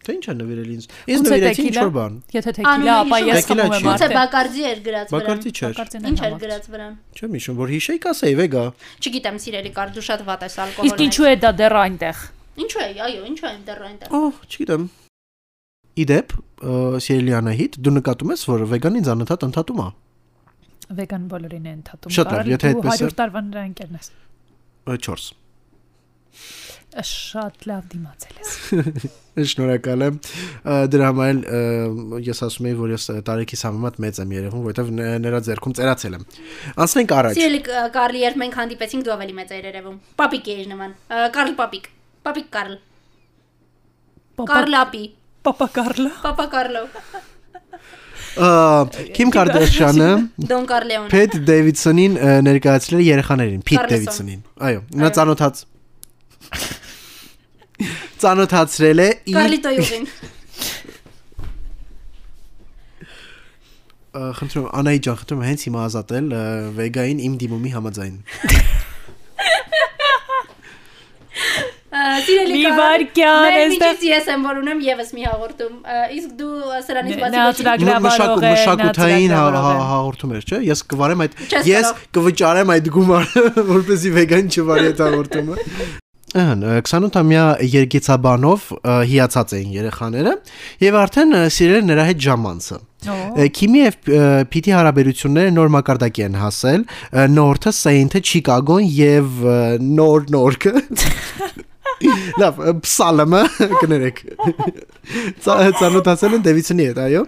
Speaker 1: թե ինչ է նվիրել ինձ։ Ինձ
Speaker 3: ոնց է
Speaker 1: նվիրեցի ինչ
Speaker 3: տեկիլա։
Speaker 1: որ բան։
Speaker 3: Եթե թեքիլա,
Speaker 2: Անունը
Speaker 3: ապա
Speaker 2: հիշում
Speaker 3: ես
Speaker 1: եք։
Speaker 3: խմում եմ
Speaker 1: Տեկիլա
Speaker 2: Ոնց է
Speaker 3: արդեն։
Speaker 2: բակարդի էր գրած վրան։
Speaker 1: Բակարդի չէր։
Speaker 3: Բակարդին
Speaker 2: Ինչ էր
Speaker 3: համաձայն։
Speaker 2: գրած վրան։
Speaker 1: Չեմ հիշում, որ հիշեի կասեի վեգա։
Speaker 2: Չգիտեմ, սիրելի կար, դու շատ վատ ես
Speaker 3: Իսկ
Speaker 2: ալկոհոլը։
Speaker 3: ինչու է դա դեռ այնտեղ։
Speaker 2: Ինչու է, այո, ինչու է դեռ այնտեղ։
Speaker 1: Օ, չգիտեմ։ Իդեպ, Սիրելի Անահիտ, դու նկատում ես, որ վեգան ինձ անընդհատ ընդհատում է։
Speaker 3: Վեգան բոլորին է ընդհատում։
Speaker 1: Շատ լավ,
Speaker 3: Կարելի
Speaker 1: եթե
Speaker 3: դու
Speaker 1: այդպես է-
Speaker 3: 100 տարվա նրա ընկերն ես։
Speaker 1: 4։
Speaker 3: Շատ լավ դիմացել ես։
Speaker 1: Շնորհակալ եմ։ Ա, Դրա համար էլ ա, ես ասում եի, որ ես տարեքիս համեմատ մեծ եմ երևում, որովհետև ն- նրա ձեռքում ծերացել եմ։ Անցնենք առաջ։
Speaker 2: Սիրելի կ- Կարլի, երբ մենք հանդիպեցինք, դու ավելի մեծ էր երևում։ Պապիկ էր նման։ Ա, Կարլ պապիկ։ Պապիկ Կարլ։ Կարլապի։
Speaker 3: Պապա Կարլա։
Speaker 2: Պապա Կարլո։
Speaker 1: Ա, Քիմ Կարդաշյանը
Speaker 2: Դոն Կարլեոն։
Speaker 1: Փեթ Դեվիդսոնին ա, ներկայացրել է երեխաներին, Փիթ
Speaker 2: Կառլեսոն։
Speaker 1: Դեվիդսոնին։ Այո, նա ծանոթաց։ Ծանոթացրել է իր
Speaker 2: Կարլի Տոյուղին։
Speaker 1: Ա, խնդրում եմ, Անայի ջան, խնդրում եմ հենց հիմա ազատել ա, վեգային իմ դիմումի համաձայն։
Speaker 2: Ա, Սիրելի
Speaker 3: Մի
Speaker 2: Կարեն,
Speaker 3: վարքյան,
Speaker 2: մեր
Speaker 3: այստեղ-
Speaker 2: միջից ես եմ որ ունեմ եւս մի հաղորդում։ Ա, Իսկ դու ա, սրանից
Speaker 3: Նա
Speaker 2: բացի
Speaker 3: ծրագ- Գրավարող է,
Speaker 1: մշակութային հա-
Speaker 3: նա ծրագրավորող
Speaker 1: հա-
Speaker 3: է։
Speaker 1: հաղորդում էր, չէ՞։ Ես կվարեմ այդ
Speaker 2: Չես
Speaker 1: ես
Speaker 2: կարող։
Speaker 1: կվճարեմ այդ գումարը, որպեսզի վեգան չվարի այդ հաղորդումը։ Ահն 28-ամյա երգիծաբանով ը, հիացած էին երեխաները եւ արդեն ը, սիրել են նրա հետ ժամանցը։ Ա, Քիմի եւ ը, Փիթի հարաբերությունները նոր մակարդակի են հասել։ ը, Նորթը Սեինթը Չիկագոն եւ ը, նոր նորքը։ Լավ, ը, Պսալմը կներեք։ Ծա- Ծանոթացել են Դևիցնի հետ, այո։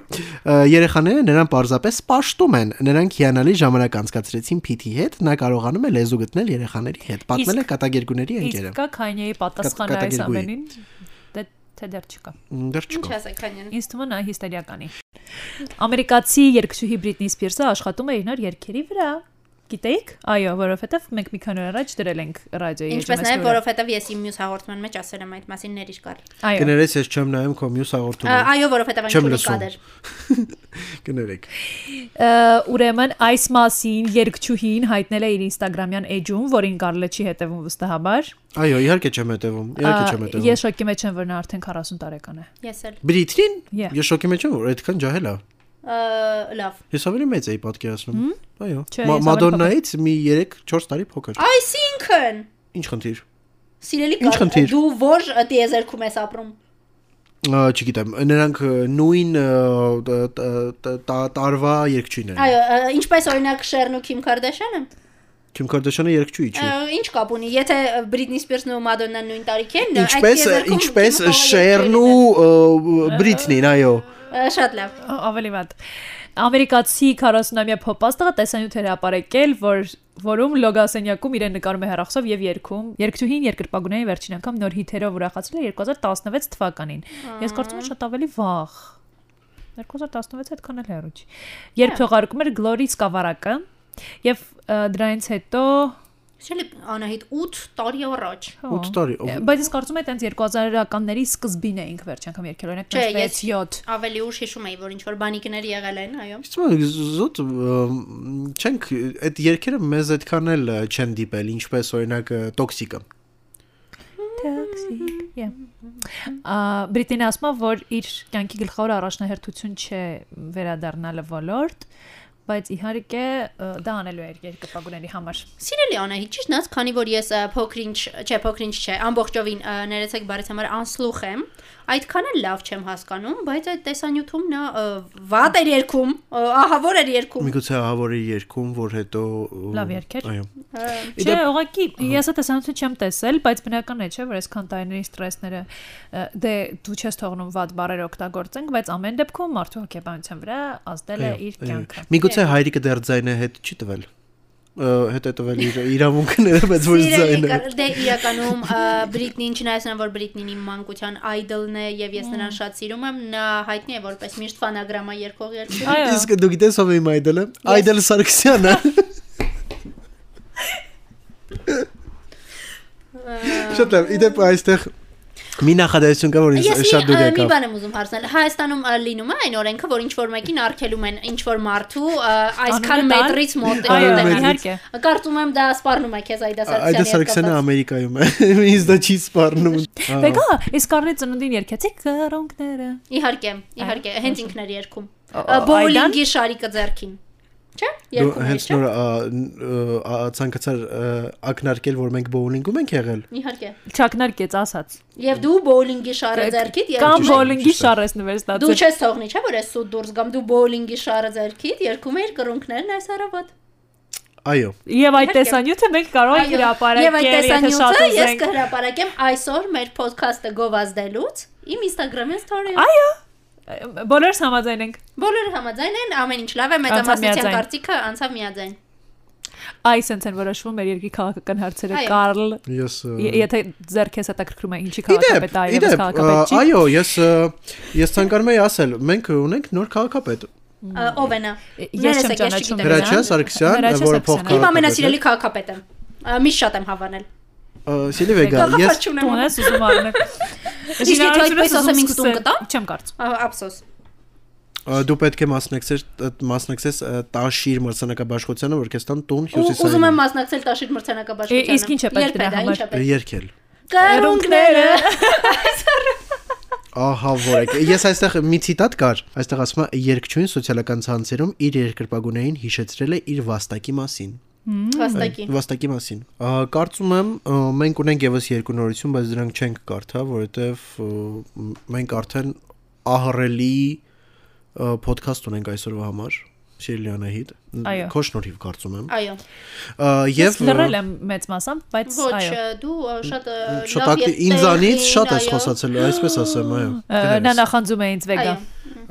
Speaker 1: Ա, Երեխաները նրան պարզապես սպաշտում են։ Նրանք հիանալի ժամանակ անցկացրեցին Փիթի հետ, նա կարողանում է լեզու գտնել երեխաների հետ։ Պատմել է
Speaker 3: Իսկ-
Speaker 1: կատագերգուների
Speaker 3: Իսկ
Speaker 1: ընկերը։
Speaker 3: կա Քանյեի պատասխանը այս
Speaker 1: Կատակերգուի։
Speaker 3: ամենին։ Դե թե դեռ չկա։
Speaker 1: Դեռ
Speaker 2: ինչ
Speaker 1: չկա։
Speaker 2: ասեք քանյան։
Speaker 3: Ինձ թվում է նա հիստերիական է։ Ամերիկացի երգչուհի Բրիտնի Սպիրսը աշխատում է իր նոր երգերի վրա։ Գիտեիք։ Այո, որովհետև մենք մի քանի օր առաջ դրել ենք ռադիոյի
Speaker 2: Ինչպես
Speaker 3: HMS
Speaker 2: նաև
Speaker 3: լուրը։
Speaker 2: որովհետև ես իմ մյուս հաղորդման մեջ ասել եմ այդ մասին ներիշ կար։
Speaker 3: Այո։
Speaker 1: Կներես, ես չեմ նայում քո մյուս հաղորդումը։
Speaker 2: Այո, որովհետև այն
Speaker 1: Չեմ
Speaker 2: քունի
Speaker 1: լսում։
Speaker 2: կադր։
Speaker 1: Կներեք։
Speaker 3: Ա, Ուրեմն այս մասին երգչուհին հայտնել է իր Instagram-յան էջում, որին կարելի չի հետևում վստահաբար։
Speaker 1: Այո, իհարկե չեմ հետևում։
Speaker 3: Ա,
Speaker 1: Իհարկե չեմ հետևում։
Speaker 3: Ես շոկի մեջ եմ, որ նա արդեն 40 տարեկան է։
Speaker 2: Ես էլ։
Speaker 1: Բրիթրին։
Speaker 3: Yeah.
Speaker 1: Ես շոկի մեջ եմ, որ այդքան ջահել է։
Speaker 2: Ա, Լավ։
Speaker 1: Ես ավելի մեծ էի պատկերացնում։ Այո։
Speaker 3: Չէ,
Speaker 1: Մա-
Speaker 3: ես ավելի
Speaker 1: Մադոննայից մի 3-4 տարի փոքր։
Speaker 2: Այսինքն,
Speaker 1: Ինչ խնդիր։
Speaker 2: սիրելի
Speaker 1: Ինչ
Speaker 2: կար,
Speaker 1: խնդիր։
Speaker 2: դու ո՞ր տիեզերքում ես ապրում։
Speaker 1: Ա, Չգիտեմ, նրանք ը, նույն ը, տ- տ- տ- տա- տարվա երկչույն են։
Speaker 2: Այո, ա, ինչպես օրինակ Շերն ու Քիմ Կարդաշյանը։
Speaker 1: Քիմ Կարդաշյանը երկչույի
Speaker 2: Ա,
Speaker 1: չի։
Speaker 2: Ինչ կապ ունի, եթե Բրիտնի Սպիրսն ու Մադոննան նույն տարիքի են, այդ
Speaker 1: Ինչպես
Speaker 2: տիեզերքում
Speaker 1: ինչպես
Speaker 2: Քիմը կարող է
Speaker 1: Շերն
Speaker 2: երկրորդ լինել։
Speaker 1: ու ը, Բրիթնին, այո։
Speaker 2: Ա, շատ լավ։
Speaker 3: Ա, Ավելի վատ։ Ամերիկացի 40-ամյա փոփաստը տեսանյութ էր ապարեկել, որ որում լոգասենյակում իրեն նկարում է հերախոսով եւ երկում։ Երկչուհին երկրպագունային վերջին անգամ նոր հիթերով ուրախացրել է 2016 թվականին։ Ես կարծում եմ շատ ավելի վաղ։ 2016 այդքան էլ հեռու չի։
Speaker 1: Հա։
Speaker 3: Երբ թողարկում էր Glory սկավառակը եւ ա, դրանից հետո
Speaker 2: Սիրելի Անահիտ 8 տարի առաջ։
Speaker 3: հա,
Speaker 1: 8 տարի, ով-
Speaker 3: Բայց ես կարծում եմ այտենց 2000-ականների սկզբին էինք վերջ անգամ երկել, օրինակ
Speaker 2: Չէ,
Speaker 3: 6-7
Speaker 2: Ավելի ուշ հիշում եի, որ ինչ որ բանիկներ եղել են, այո։
Speaker 1: Իստում զոտ ը, չենք այդ երկերը մեզ այդքան էլ ը, չեն դիպել, ինչպես օրինակ ը, տոքսիկը։
Speaker 3: Toxic, yeah. Ա Բրիտանիա ասում է, որ իր կյանքի գլխավոր առաջնահերթություն չէ վերադառնալը ոլորտ, բայց իհարկե ը, դա անելու է իր երկրպագուների համար։
Speaker 2: Սիրելի Անահիտ, ճիշտ նաս, քանի որ ես ա, փոքրինչ, չէ, փոքրինչ չէ, ամբողջովին ա, ներեցեք բարից համար անսլուխ եմ, այդքան էլ լավ չեմ հասկանում, բայց այդ տեսանյութում նա ա, վատ էր երկում, ա, ահա որ էր երկում։
Speaker 1: Միգուցե հավորի երկում, որ հետո ը,
Speaker 3: Լավ երգեր։
Speaker 1: Այո։
Speaker 2: Ա,
Speaker 3: Չէ, ուղղակի ես այդ տեսանյութը չեմ տեսել, բայց բնական է, չէ, որ այսքան տարիների ստրեսները ը, դե դու չես թողնում ված բարեր օգտագործենք, բայց ամեն դեպքում մարդու հոգեբանության վրա ազդել է
Speaker 1: Այո,
Speaker 3: իր
Speaker 1: այո,
Speaker 3: կյանքը։
Speaker 1: Միգուցե հայրիկը դեռ ձայնը հետ չի տվել։ Ա, Հետ է տվել իր իրավունքները, բայց որ
Speaker 2: Սիրելի
Speaker 1: ձայնը։
Speaker 2: կար- դե իրականում Բրիտնին չնայած նա որ Բրիտնին իմ մանկության idol-ն է եւ ես նրան շատ սիրում եմ, նա հայտնի է որպես միշտ ֆանագրամա երկող երկու։
Speaker 3: Այո։
Speaker 1: Իսկ դու գիտես ով է իմ այդելը։ Այդել Սարգսյանը։ Շատ լավ, իդեպ այստեղ մի նախադասություն կա, որ
Speaker 2: Ես
Speaker 1: ինձ
Speaker 2: շատ
Speaker 1: շատ դուր
Speaker 2: մի
Speaker 1: եկավ։
Speaker 2: բան եմ ուզում հարցնել։ Հայաստանում ա, լինում է այն օրենքը, որ ինչ որ մեկին արգելում են ինչ որ մարդու ա, այսքան
Speaker 3: Անունը
Speaker 1: Այդել Սարգսյանը Ամերիկայում է։ Ինձ դա չի սպառնում։ Ա,
Speaker 2: մետրից մոտ մոտենալ։ Կարծում եմ դա սպառնում է քեզ Այդա Սարգսյանը։ Իհարկե, իհարկե, հենց ինքն
Speaker 3: տալ։ Այո, իհարկե։ Բեկա, իսկ առնի ծնունդին երկեցի կրոնկները։
Speaker 2: էր երկում։
Speaker 3: Ա,
Speaker 2: Ա,
Speaker 3: Այդան։
Speaker 2: Բոուլինգի շարիկը ձերքին։ Չէ՞։
Speaker 1: Դու
Speaker 2: Երկում էր,
Speaker 1: հենց
Speaker 2: չէ՞։
Speaker 1: նոր ա, ն- ա, ցանկացար ա, ակնարկել, որ մենք բոուլինգում ենք եղել։
Speaker 2: Իհարկե։
Speaker 3: Չակնարկեց ասած։
Speaker 2: Եվ դու բոուլինգի շարը ձերքիդ եւ
Speaker 3: Կամ
Speaker 1: ճիշտ-
Speaker 3: bowling-ի
Speaker 1: ճիշտ է։
Speaker 3: շարես նվեր ստացել։
Speaker 2: Դու չես թողնի, չէ՞ որ ես սուտ դուրս գամ, դու բոուլինգի շարը ձերքիդ, երկում էիր կրունկներն այս հարավատ։
Speaker 1: Այո։
Speaker 3: Եվ այդ
Speaker 2: Իհարկե։
Speaker 3: տեսանյութը մենք կարող ենք
Speaker 2: Եվ այդ
Speaker 3: հրապարակել, եթե շատ
Speaker 2: տեսանյութը ես
Speaker 3: ուզենք։
Speaker 2: կհրապարակեմ այսօր մեր podcast-ը գովազդելուց իմ Instagram-յան story-ը։
Speaker 3: Այո։ Բոլորս համաձայն ենք։
Speaker 2: Բոլորը համաձայն են, ամեն ինչ լավ է,
Speaker 3: Անցավ
Speaker 2: մեծամասնության
Speaker 3: միաձայն։
Speaker 2: կարծիքը անցավ միաձայն։
Speaker 3: Այս ընդ են որոշվում մեր երկրի քաղաքական հարցերը,
Speaker 2: Այո։
Speaker 3: Կարլ։
Speaker 1: Ես ա,
Speaker 3: ե- Եթե ձերքես հետաքրքրում է ինչի
Speaker 1: Իդեպ,
Speaker 3: քաղաքապետ է, այլևս
Speaker 1: իդեպ, ա,
Speaker 3: քաղաքապետ չի։
Speaker 1: այո, ես ա, ես ցանկանում եի ասել, մենք ունենք նոր քաղաքապետ։
Speaker 2: Ա, Ով է նա։
Speaker 3: Ես
Speaker 2: Ներես եք,
Speaker 3: չեմ
Speaker 2: ես
Speaker 3: ճանաչում
Speaker 2: չգիտեմ
Speaker 1: Հրաչյա
Speaker 3: նրան։
Speaker 1: Սարգսյան,
Speaker 3: Հրաչյա
Speaker 1: որը
Speaker 3: Սարգսյանը։
Speaker 1: փոխ-
Speaker 2: Իմ ամենասիրելի քաղաքապետը։ Ա, Միշտ շատ եմ հավանել։
Speaker 1: Սիլիվեգա, ես
Speaker 2: Քաղաքապետ չունեմ։
Speaker 3: Տուն ես ուզում առնել։
Speaker 2: Իսկ եթե այդպես ասեմ, ինձ տուն կտա՞։
Speaker 3: Չեմ կարծում։
Speaker 2: Ա, Ափսոս։
Speaker 1: Ա, դու պետք է մասնակցես մասնակցես ա, տաշիր մրցանակաբաշխությանը, որ քեզ տան տուն
Speaker 2: Ու- Ուզում
Speaker 1: հյուսիսային
Speaker 2: եմ մասնակցել Տաշիր մրցանակաբաշխությանը։ հա,
Speaker 3: Իսկ ինչ է պետք դրա համար։
Speaker 1: երկել։
Speaker 2: Կերունքները։
Speaker 1: Ահա որ է։ Ես այստեղ մի ցիտատ կար, այստեղ ասում է երկչույն սոցիալական ցանցերում իր երկրպագունային հիշեցրել է իր վաստակի մասին։
Speaker 2: Վաստակի։
Speaker 1: Վաստակի մասին։ Ա, Կարծում եմ ա, մենք ունենք եւս երկու նորություն, բայց դրանք չենք կարդա, որովհետեւ ա, մ- մենք արդեն ահռելի ա, podcast ունենք այսօրվա համար։ Շիրլի Անահիտ։
Speaker 3: Այո։
Speaker 1: Քո շնորհիվ կարծում եմ։
Speaker 2: Այո։
Speaker 1: Ա,
Speaker 3: Ես
Speaker 1: Եվ
Speaker 3: լռել եմ մեծ մասամբ, բայց
Speaker 2: Ոչ,
Speaker 3: այո։
Speaker 2: դու ա, շատ ա,
Speaker 1: շատ
Speaker 2: լավ
Speaker 1: ակտի-
Speaker 2: եթեր
Speaker 1: ինձանից
Speaker 2: էին,
Speaker 1: շատ ես
Speaker 2: այո։
Speaker 1: խոսացել, այսպես ասեմ, այո։
Speaker 3: Ա, Նա
Speaker 1: Կներես։
Speaker 3: նախանձում է ինձ վեգա։
Speaker 2: Այո։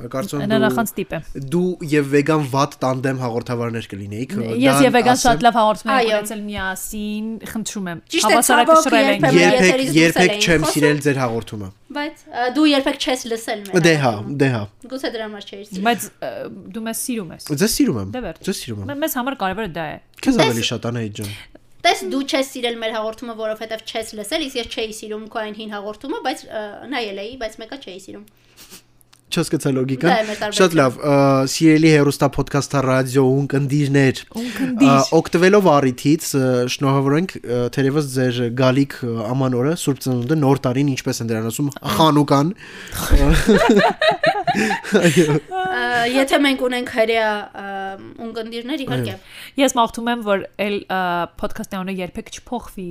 Speaker 1: Կարծում եմ
Speaker 3: Նա
Speaker 1: դու-
Speaker 3: նախանձ տիպ է։
Speaker 1: դու եւ վեգան վատ տանդեմ հաղորդավարներ կլինեիք։
Speaker 3: Ես եւ վեգան շատ լավ հաղորդումներ
Speaker 2: Այո։
Speaker 3: եմ ունեցել միասին, խնդրում եմ։
Speaker 2: Ճիշտ է,
Speaker 3: Հավասարակշռել
Speaker 2: ցավոք,
Speaker 3: ենք։
Speaker 2: երբեմն
Speaker 1: Երբեք
Speaker 2: եթերից
Speaker 3: Երբ-
Speaker 2: դուրս
Speaker 1: երբեք
Speaker 2: էլ
Speaker 1: չեմ
Speaker 2: էինք
Speaker 1: սիրել ձեր հաղորդումը։
Speaker 2: Բայց ա, դու երբեք չես լսել մեր։
Speaker 1: Դե հա, դե հա։
Speaker 2: Գուցե դրա համար չէիր։ սիրում։
Speaker 3: Բայց ա, դու մեզ սիրում ես։
Speaker 1: Ձեզ սիրում եմ։
Speaker 3: Դե վերջ։
Speaker 1: Ձեզ սիրում եմ։
Speaker 3: Մե- Մեզ համար կարևորը դա է։
Speaker 1: Քեզ ավելի շատ անայի ջան։
Speaker 2: Տես դու չես սիրել մեր հաղորդումը, որովհետև չես լսել, իսկ ես չէի սիրում քո այն հին հաղորդումը, բայց ա, նայել էի, բայց մեկը չէի սիրում։
Speaker 1: Չես գցա
Speaker 2: Դա է
Speaker 1: լոգիկան։
Speaker 2: մեր տարբերությունը։
Speaker 1: Շատ լավ, ը, սիրելի հերոստա ոդքասթա ռադիոուն կնդիրներ։
Speaker 3: Ունքնդիր։
Speaker 1: ը, Օգտվելով առիթից ը, շնորհավորենք ը, թերևս ձեր գալիք ը, աման օրը Սուրբ Ծնունդը նոր տարին ինչպես են դրան ասում Խանուկան։
Speaker 2: Ա, Եթե մենք ունենք հրեա ա, ունկնդիրներ, իհարկե։
Speaker 3: Ես մաղթում եմ, որ այլ ոդքասթի անունը երբեք չփոխվի։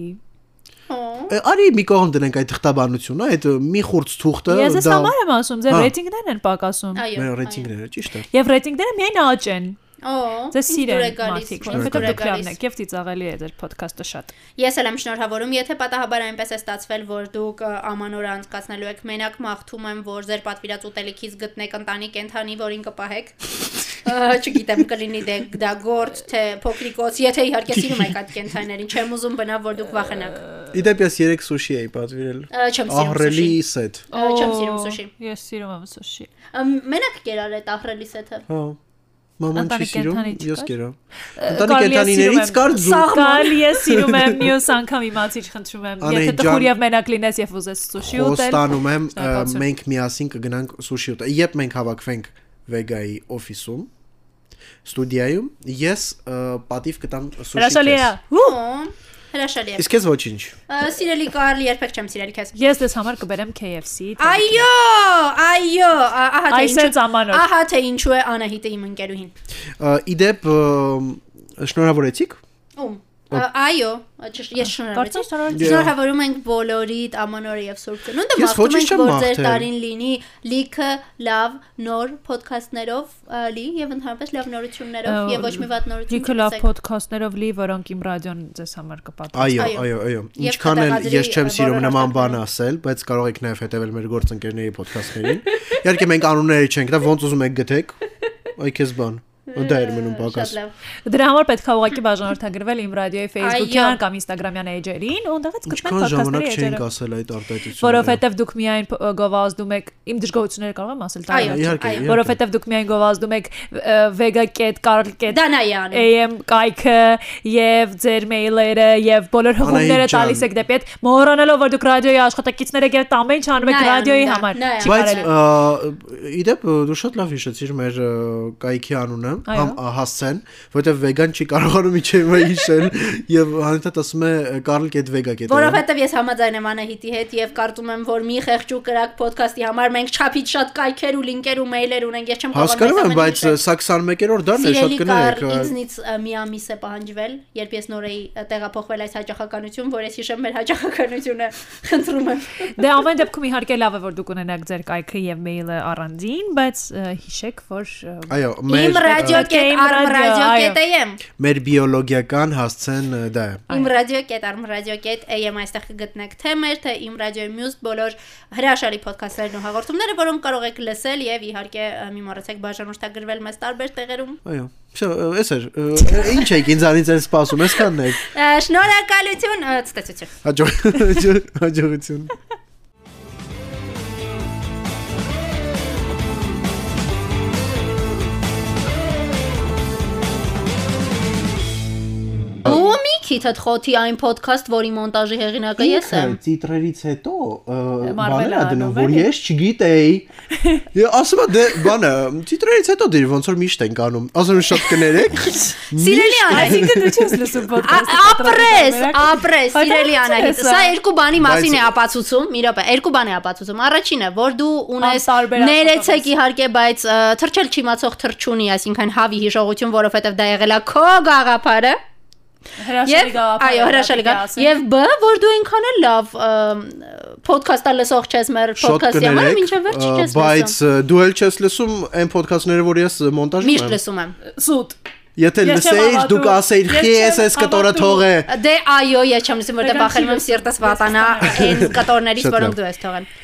Speaker 2: Օ,
Speaker 1: Ը, Արի մի կողմ դնենք այդ թղթաբանությունը, այդ ը, մի խուրց թուղթը
Speaker 3: Ես ես համար եմ ասում, ձեր
Speaker 1: Հա։
Speaker 3: ռեյտինգներն են պակասում։
Speaker 2: Այո։
Speaker 1: մեր
Speaker 2: այո։
Speaker 1: ռեյտինգները, ճիշտ է։
Speaker 3: Եվ ռեյտինգները միայն աճ են։
Speaker 2: Օ,
Speaker 3: Ձեզ
Speaker 2: ինձ
Speaker 3: սիրեն
Speaker 2: դուր է գալիս,
Speaker 3: մարդիկ,
Speaker 2: ինձ դուր
Speaker 3: որովհետև
Speaker 2: է
Speaker 3: դուք լավն
Speaker 2: գալիս։
Speaker 3: եք եւ ծիծաղելի է ձեր ոդքասթը շատ։
Speaker 2: Ես էլ եմ շնորհավորում, եթե պատահաբար այնպես է ստացվել, որ դուք ը, ամանորը անցկացնելու եք, մենակ մաղթում եմ, որ ձեր պատվիրած ուտելիքից գտնեք ընտանի կենթանի, որին կպահեք։ Ա, Չգիտեմ, կլինի դե դա գործ թե փոքրիկոց, եթե իհարկե սիրում եք այդ կենթաներին, չեմ ուզում բնավ որ դուք վախենաք։
Speaker 1: Իդեպ ես 3 սուշի էի պատվիրել։
Speaker 2: Ա, Չեմ սիրում
Speaker 1: Ահրելի
Speaker 2: սուշին։
Speaker 1: սեթ։
Speaker 2: Ա, Չեմ սիրում սուշին։
Speaker 3: Ես սիրում եմ սուշի։
Speaker 2: Մենակ կերար այդ ահրելի սեթը։
Speaker 1: Հա։ Մաման չի
Speaker 3: Ընտանիք
Speaker 1: սիրում,
Speaker 3: կենդանի չկար։
Speaker 1: ես կերա։ Ընտանիք կենթանիներից կար ձու։
Speaker 3: Սաղմալ ես սիրում եմ, մյուս անգամ իմացիչ խնդրում եմ։
Speaker 1: Անե
Speaker 3: Եթե
Speaker 1: ջան,
Speaker 3: տխուր եւ մենակ լինես եւ ուզես սուշի ուտել։
Speaker 1: Ոստանում եմ, ը,
Speaker 3: շնորհակալություն։
Speaker 1: մենք միասին կգնանք սուշի ուտել։ Երբ մենք հավաքվենք Վեգայի օֆիսում, ստուդիայում, ես ը, պատիվ կտամ սուշի։
Speaker 3: Հրաշալի է։
Speaker 1: քեզ։
Speaker 2: Օ, Հրաշալի է։
Speaker 1: Իսկ ես ոչինչ։
Speaker 2: Ա, Սիրելի Կարլ, երբեք չեմ սիրել քեզ։
Speaker 3: Ես դες համար կբերեմ KFC։ թե-
Speaker 2: Այո, այո, ա- ահա թե
Speaker 3: Այս
Speaker 2: ինչու-
Speaker 3: է ժամանակ։
Speaker 2: Ահա թե ինչու է Անահիտը իմ ընկերուհին։
Speaker 1: Ը, Իդեպ ը, շնորհավորեցիք։
Speaker 2: Ում։ Ա, Այո, ճիշտ, ես
Speaker 3: Կարծես
Speaker 2: շնորհավորեցի։
Speaker 3: շնորհակալ։
Speaker 1: Ջա-
Speaker 2: Շնորհավորում ենք բոլորիդ ամանորը եւ Սուրբ Ծնունդը։
Speaker 1: Ես
Speaker 2: մաղթում
Speaker 1: ոչինչ
Speaker 2: ենք,
Speaker 1: չեմ
Speaker 2: որ ձեր
Speaker 1: մաղթել։
Speaker 2: տարին լինի լիքը լավ նոր ոդքասթներով ա, լի եւ ընդհանրապես լավ նորություններով
Speaker 3: Ա,
Speaker 2: եւ ոչ մի վատ նորություն։
Speaker 3: Դիքը լավ
Speaker 2: չտեսեք։
Speaker 3: ոդքասթներով լի, որոնք իմ ռադիոն ձեզ համար կպատմի։
Speaker 1: Այո,
Speaker 2: Այո։
Speaker 1: այո, այո։
Speaker 2: Եվ
Speaker 1: Ինչքան էլ
Speaker 2: կտեղադրի,
Speaker 1: ես չեմ
Speaker 2: ը,
Speaker 1: սիրում
Speaker 2: բոլոր
Speaker 1: նման բան
Speaker 2: արտադրողները։
Speaker 1: ասել, բայց կարող եք նաև հետևել մեր գործընկերների ոդքասթներին։ Իհարկե մենք անունները չենք տա, ոնց ուզում եք գտեք։ Այ քեզ բան։ Դա էր մնում
Speaker 2: Շատ
Speaker 1: պակաս։
Speaker 2: լավ։
Speaker 3: Դրա համար պետքա ուղղակի բաժանորդագրվել իմ ռադիոյի Facebook-յան կամ Instagram-յան էջերին, ու ընդդեմ կգտնեք
Speaker 1: Ինչքան ժամանակ
Speaker 3: ոդքասթերի
Speaker 1: չենք
Speaker 3: էջերը։
Speaker 1: ասել այդ արտահայտությունը։
Speaker 3: Որովհետև դուք միայն փ- գովազդում եք իմ դժգոհությունները կարող եմ ասել
Speaker 2: Այո,
Speaker 3: տարիներ։
Speaker 1: Իհարկե,
Speaker 2: այո,
Speaker 1: իհարկե։
Speaker 3: Որովհետև դուք միայն գովազդում եք vega.carl.carl.carl
Speaker 2: Դա նա է անում։
Speaker 3: AM կայքը եւ ձեր մեյլերը եւ բոլոր հղումները
Speaker 1: ջան։
Speaker 3: տալիս եք դեպի այդ մոռանալով որ դուք ռադիոյի աշխատակիցներ եք եւ տամ ինչ անում եք
Speaker 2: Նայ,
Speaker 3: ռադիոյի
Speaker 2: նայ,
Speaker 3: համար
Speaker 2: նայ,
Speaker 3: չի
Speaker 1: բայց
Speaker 3: կարելի
Speaker 1: ա, իդեպ դու շատ լավ հիշեցիր մեր ա, կայքի անունը,
Speaker 3: Այո։
Speaker 1: համ ա, հասցեն, որովհետև վեգան չի կարողանում իջել հիշել եւ հանրապետ ասում է Karl.vega.am։
Speaker 2: Որովհետև ես համաձայն եմ Անահիտի հետ եւ կարծում եմ, որ մի խեղճ ու կրակ ոդքասթի համար մենք չափից շատ կայքեր ու լինկեր ու մեյլեր ունենք, ես չեմ
Speaker 1: հա։ Հասկանում եմ,
Speaker 2: այս ամենը
Speaker 1: բայց
Speaker 2: հիշել։
Speaker 1: սա 21-րդ դարն է, շատ հա։
Speaker 2: Սիրելի
Speaker 1: կներեք։
Speaker 2: կար
Speaker 1: ա,
Speaker 2: ինձնից ա, մի ամիս է պահանջվել, երբ ես նոր էի ա, տեղափոխվել այս հաճախականություն, որ ես հիշեմ մեր հաճախականությունը, խնդրում եմ։
Speaker 3: դե ամեն դեպքում իհարկե լավ է որ դուք ունենաք ձեր կայքը եւ մեյլը առանձին բայց ը, հիշեք որ ը,
Speaker 1: Այո,
Speaker 2: Իմ
Speaker 1: մեր
Speaker 3: Իմ ռադիո,
Speaker 2: radio.armradio.am
Speaker 1: մեր բիոլոգիական հասցեն ը, դա է։
Speaker 2: Իմ radio.armradio.am այստեղ կգտնեք թե մեր, թե իմ ռադիոյի մյուս բոլոր հրաշալի ոդքասթերն ու հաղորդումները, որոնք կարող եք լսել եւ իհարկե ա, մի մոռացեք բաժանորդագրվել մեզ տարբեր տեղերում։
Speaker 1: Այո։ Շո, էս էր։ ը, ը, Ինչ եք ինձանից էլ սպասում, այսքանն է։
Speaker 2: Ա, Շնորհակալություն, ա, ցտեսություն։
Speaker 1: Հաջող հաջողություն։
Speaker 2: Ու մի թիթդ խոթի այն podcast, որի մոնտաժի հեղինակը ես եմ։
Speaker 1: Տիտրերից հետո ը,
Speaker 3: Մարվելը
Speaker 1: բաներ ա դնում, որ
Speaker 3: նովել է։
Speaker 1: ես չգիտեի։ Ես ասում եմ դե բանը, տիտրերից հետո դեր ոնց որ միշտ ենք անում։ Ասում եմ շատ կներեք։
Speaker 2: Սիրելի Անահիտ,
Speaker 3: Այսինքն դու չես լսում
Speaker 2: ա-
Speaker 3: ոդկասթը։
Speaker 2: ապրես, ապրես,
Speaker 3: Հա,
Speaker 2: սիրելի Անահիտ։ Սա երկու բանի մասին է
Speaker 1: Բայց-
Speaker 2: ապացուցում, մի րոպե, երկու բան է ապացուցում։ Առաջինը, որ դու ունես
Speaker 3: Անտարբեր աշխատող
Speaker 2: ներեցեք
Speaker 3: ես։
Speaker 2: իհարկե, բայց ը, թրջել չի մացող թրջունի, այսինքն հավի հիշողություն, որովհետև դա եղել է քո գաղափարը։
Speaker 3: Հրաշալի
Speaker 2: Եվ
Speaker 3: գաղափար։
Speaker 2: այո, հրաշալի գա։ Եվ բ, որ դու այնքան էլ լավ ոդքասթա լսող չես մեր
Speaker 1: Շատ
Speaker 2: ոդքասթի համար,
Speaker 1: կներեք։
Speaker 2: ինչը վերջ
Speaker 1: ը,
Speaker 2: չես
Speaker 1: Բայց
Speaker 2: լսում։
Speaker 1: ը, դու էլ չես լսում այն ոդքասթները, որ ես մոնտաժում
Speaker 2: Միշտ լսում եմ։
Speaker 3: սուտ։
Speaker 1: Եթե
Speaker 3: Ես չեմ
Speaker 1: լսեիր,
Speaker 3: հավատում,
Speaker 1: դու կասեիր,
Speaker 3: ես
Speaker 1: «Խի,
Speaker 3: չեմ
Speaker 1: ես այս կտորը
Speaker 3: հավատում»։
Speaker 1: թողե։
Speaker 2: Դե այո, ես չեմ լսում, որտեղ
Speaker 3: Դե,
Speaker 2: բախելում եմ
Speaker 3: կանչի
Speaker 2: սիրտս
Speaker 3: լսում, ես
Speaker 2: վատանա այն կտորներից,
Speaker 1: Շատ լավ։
Speaker 2: որոնք դու ես թողել։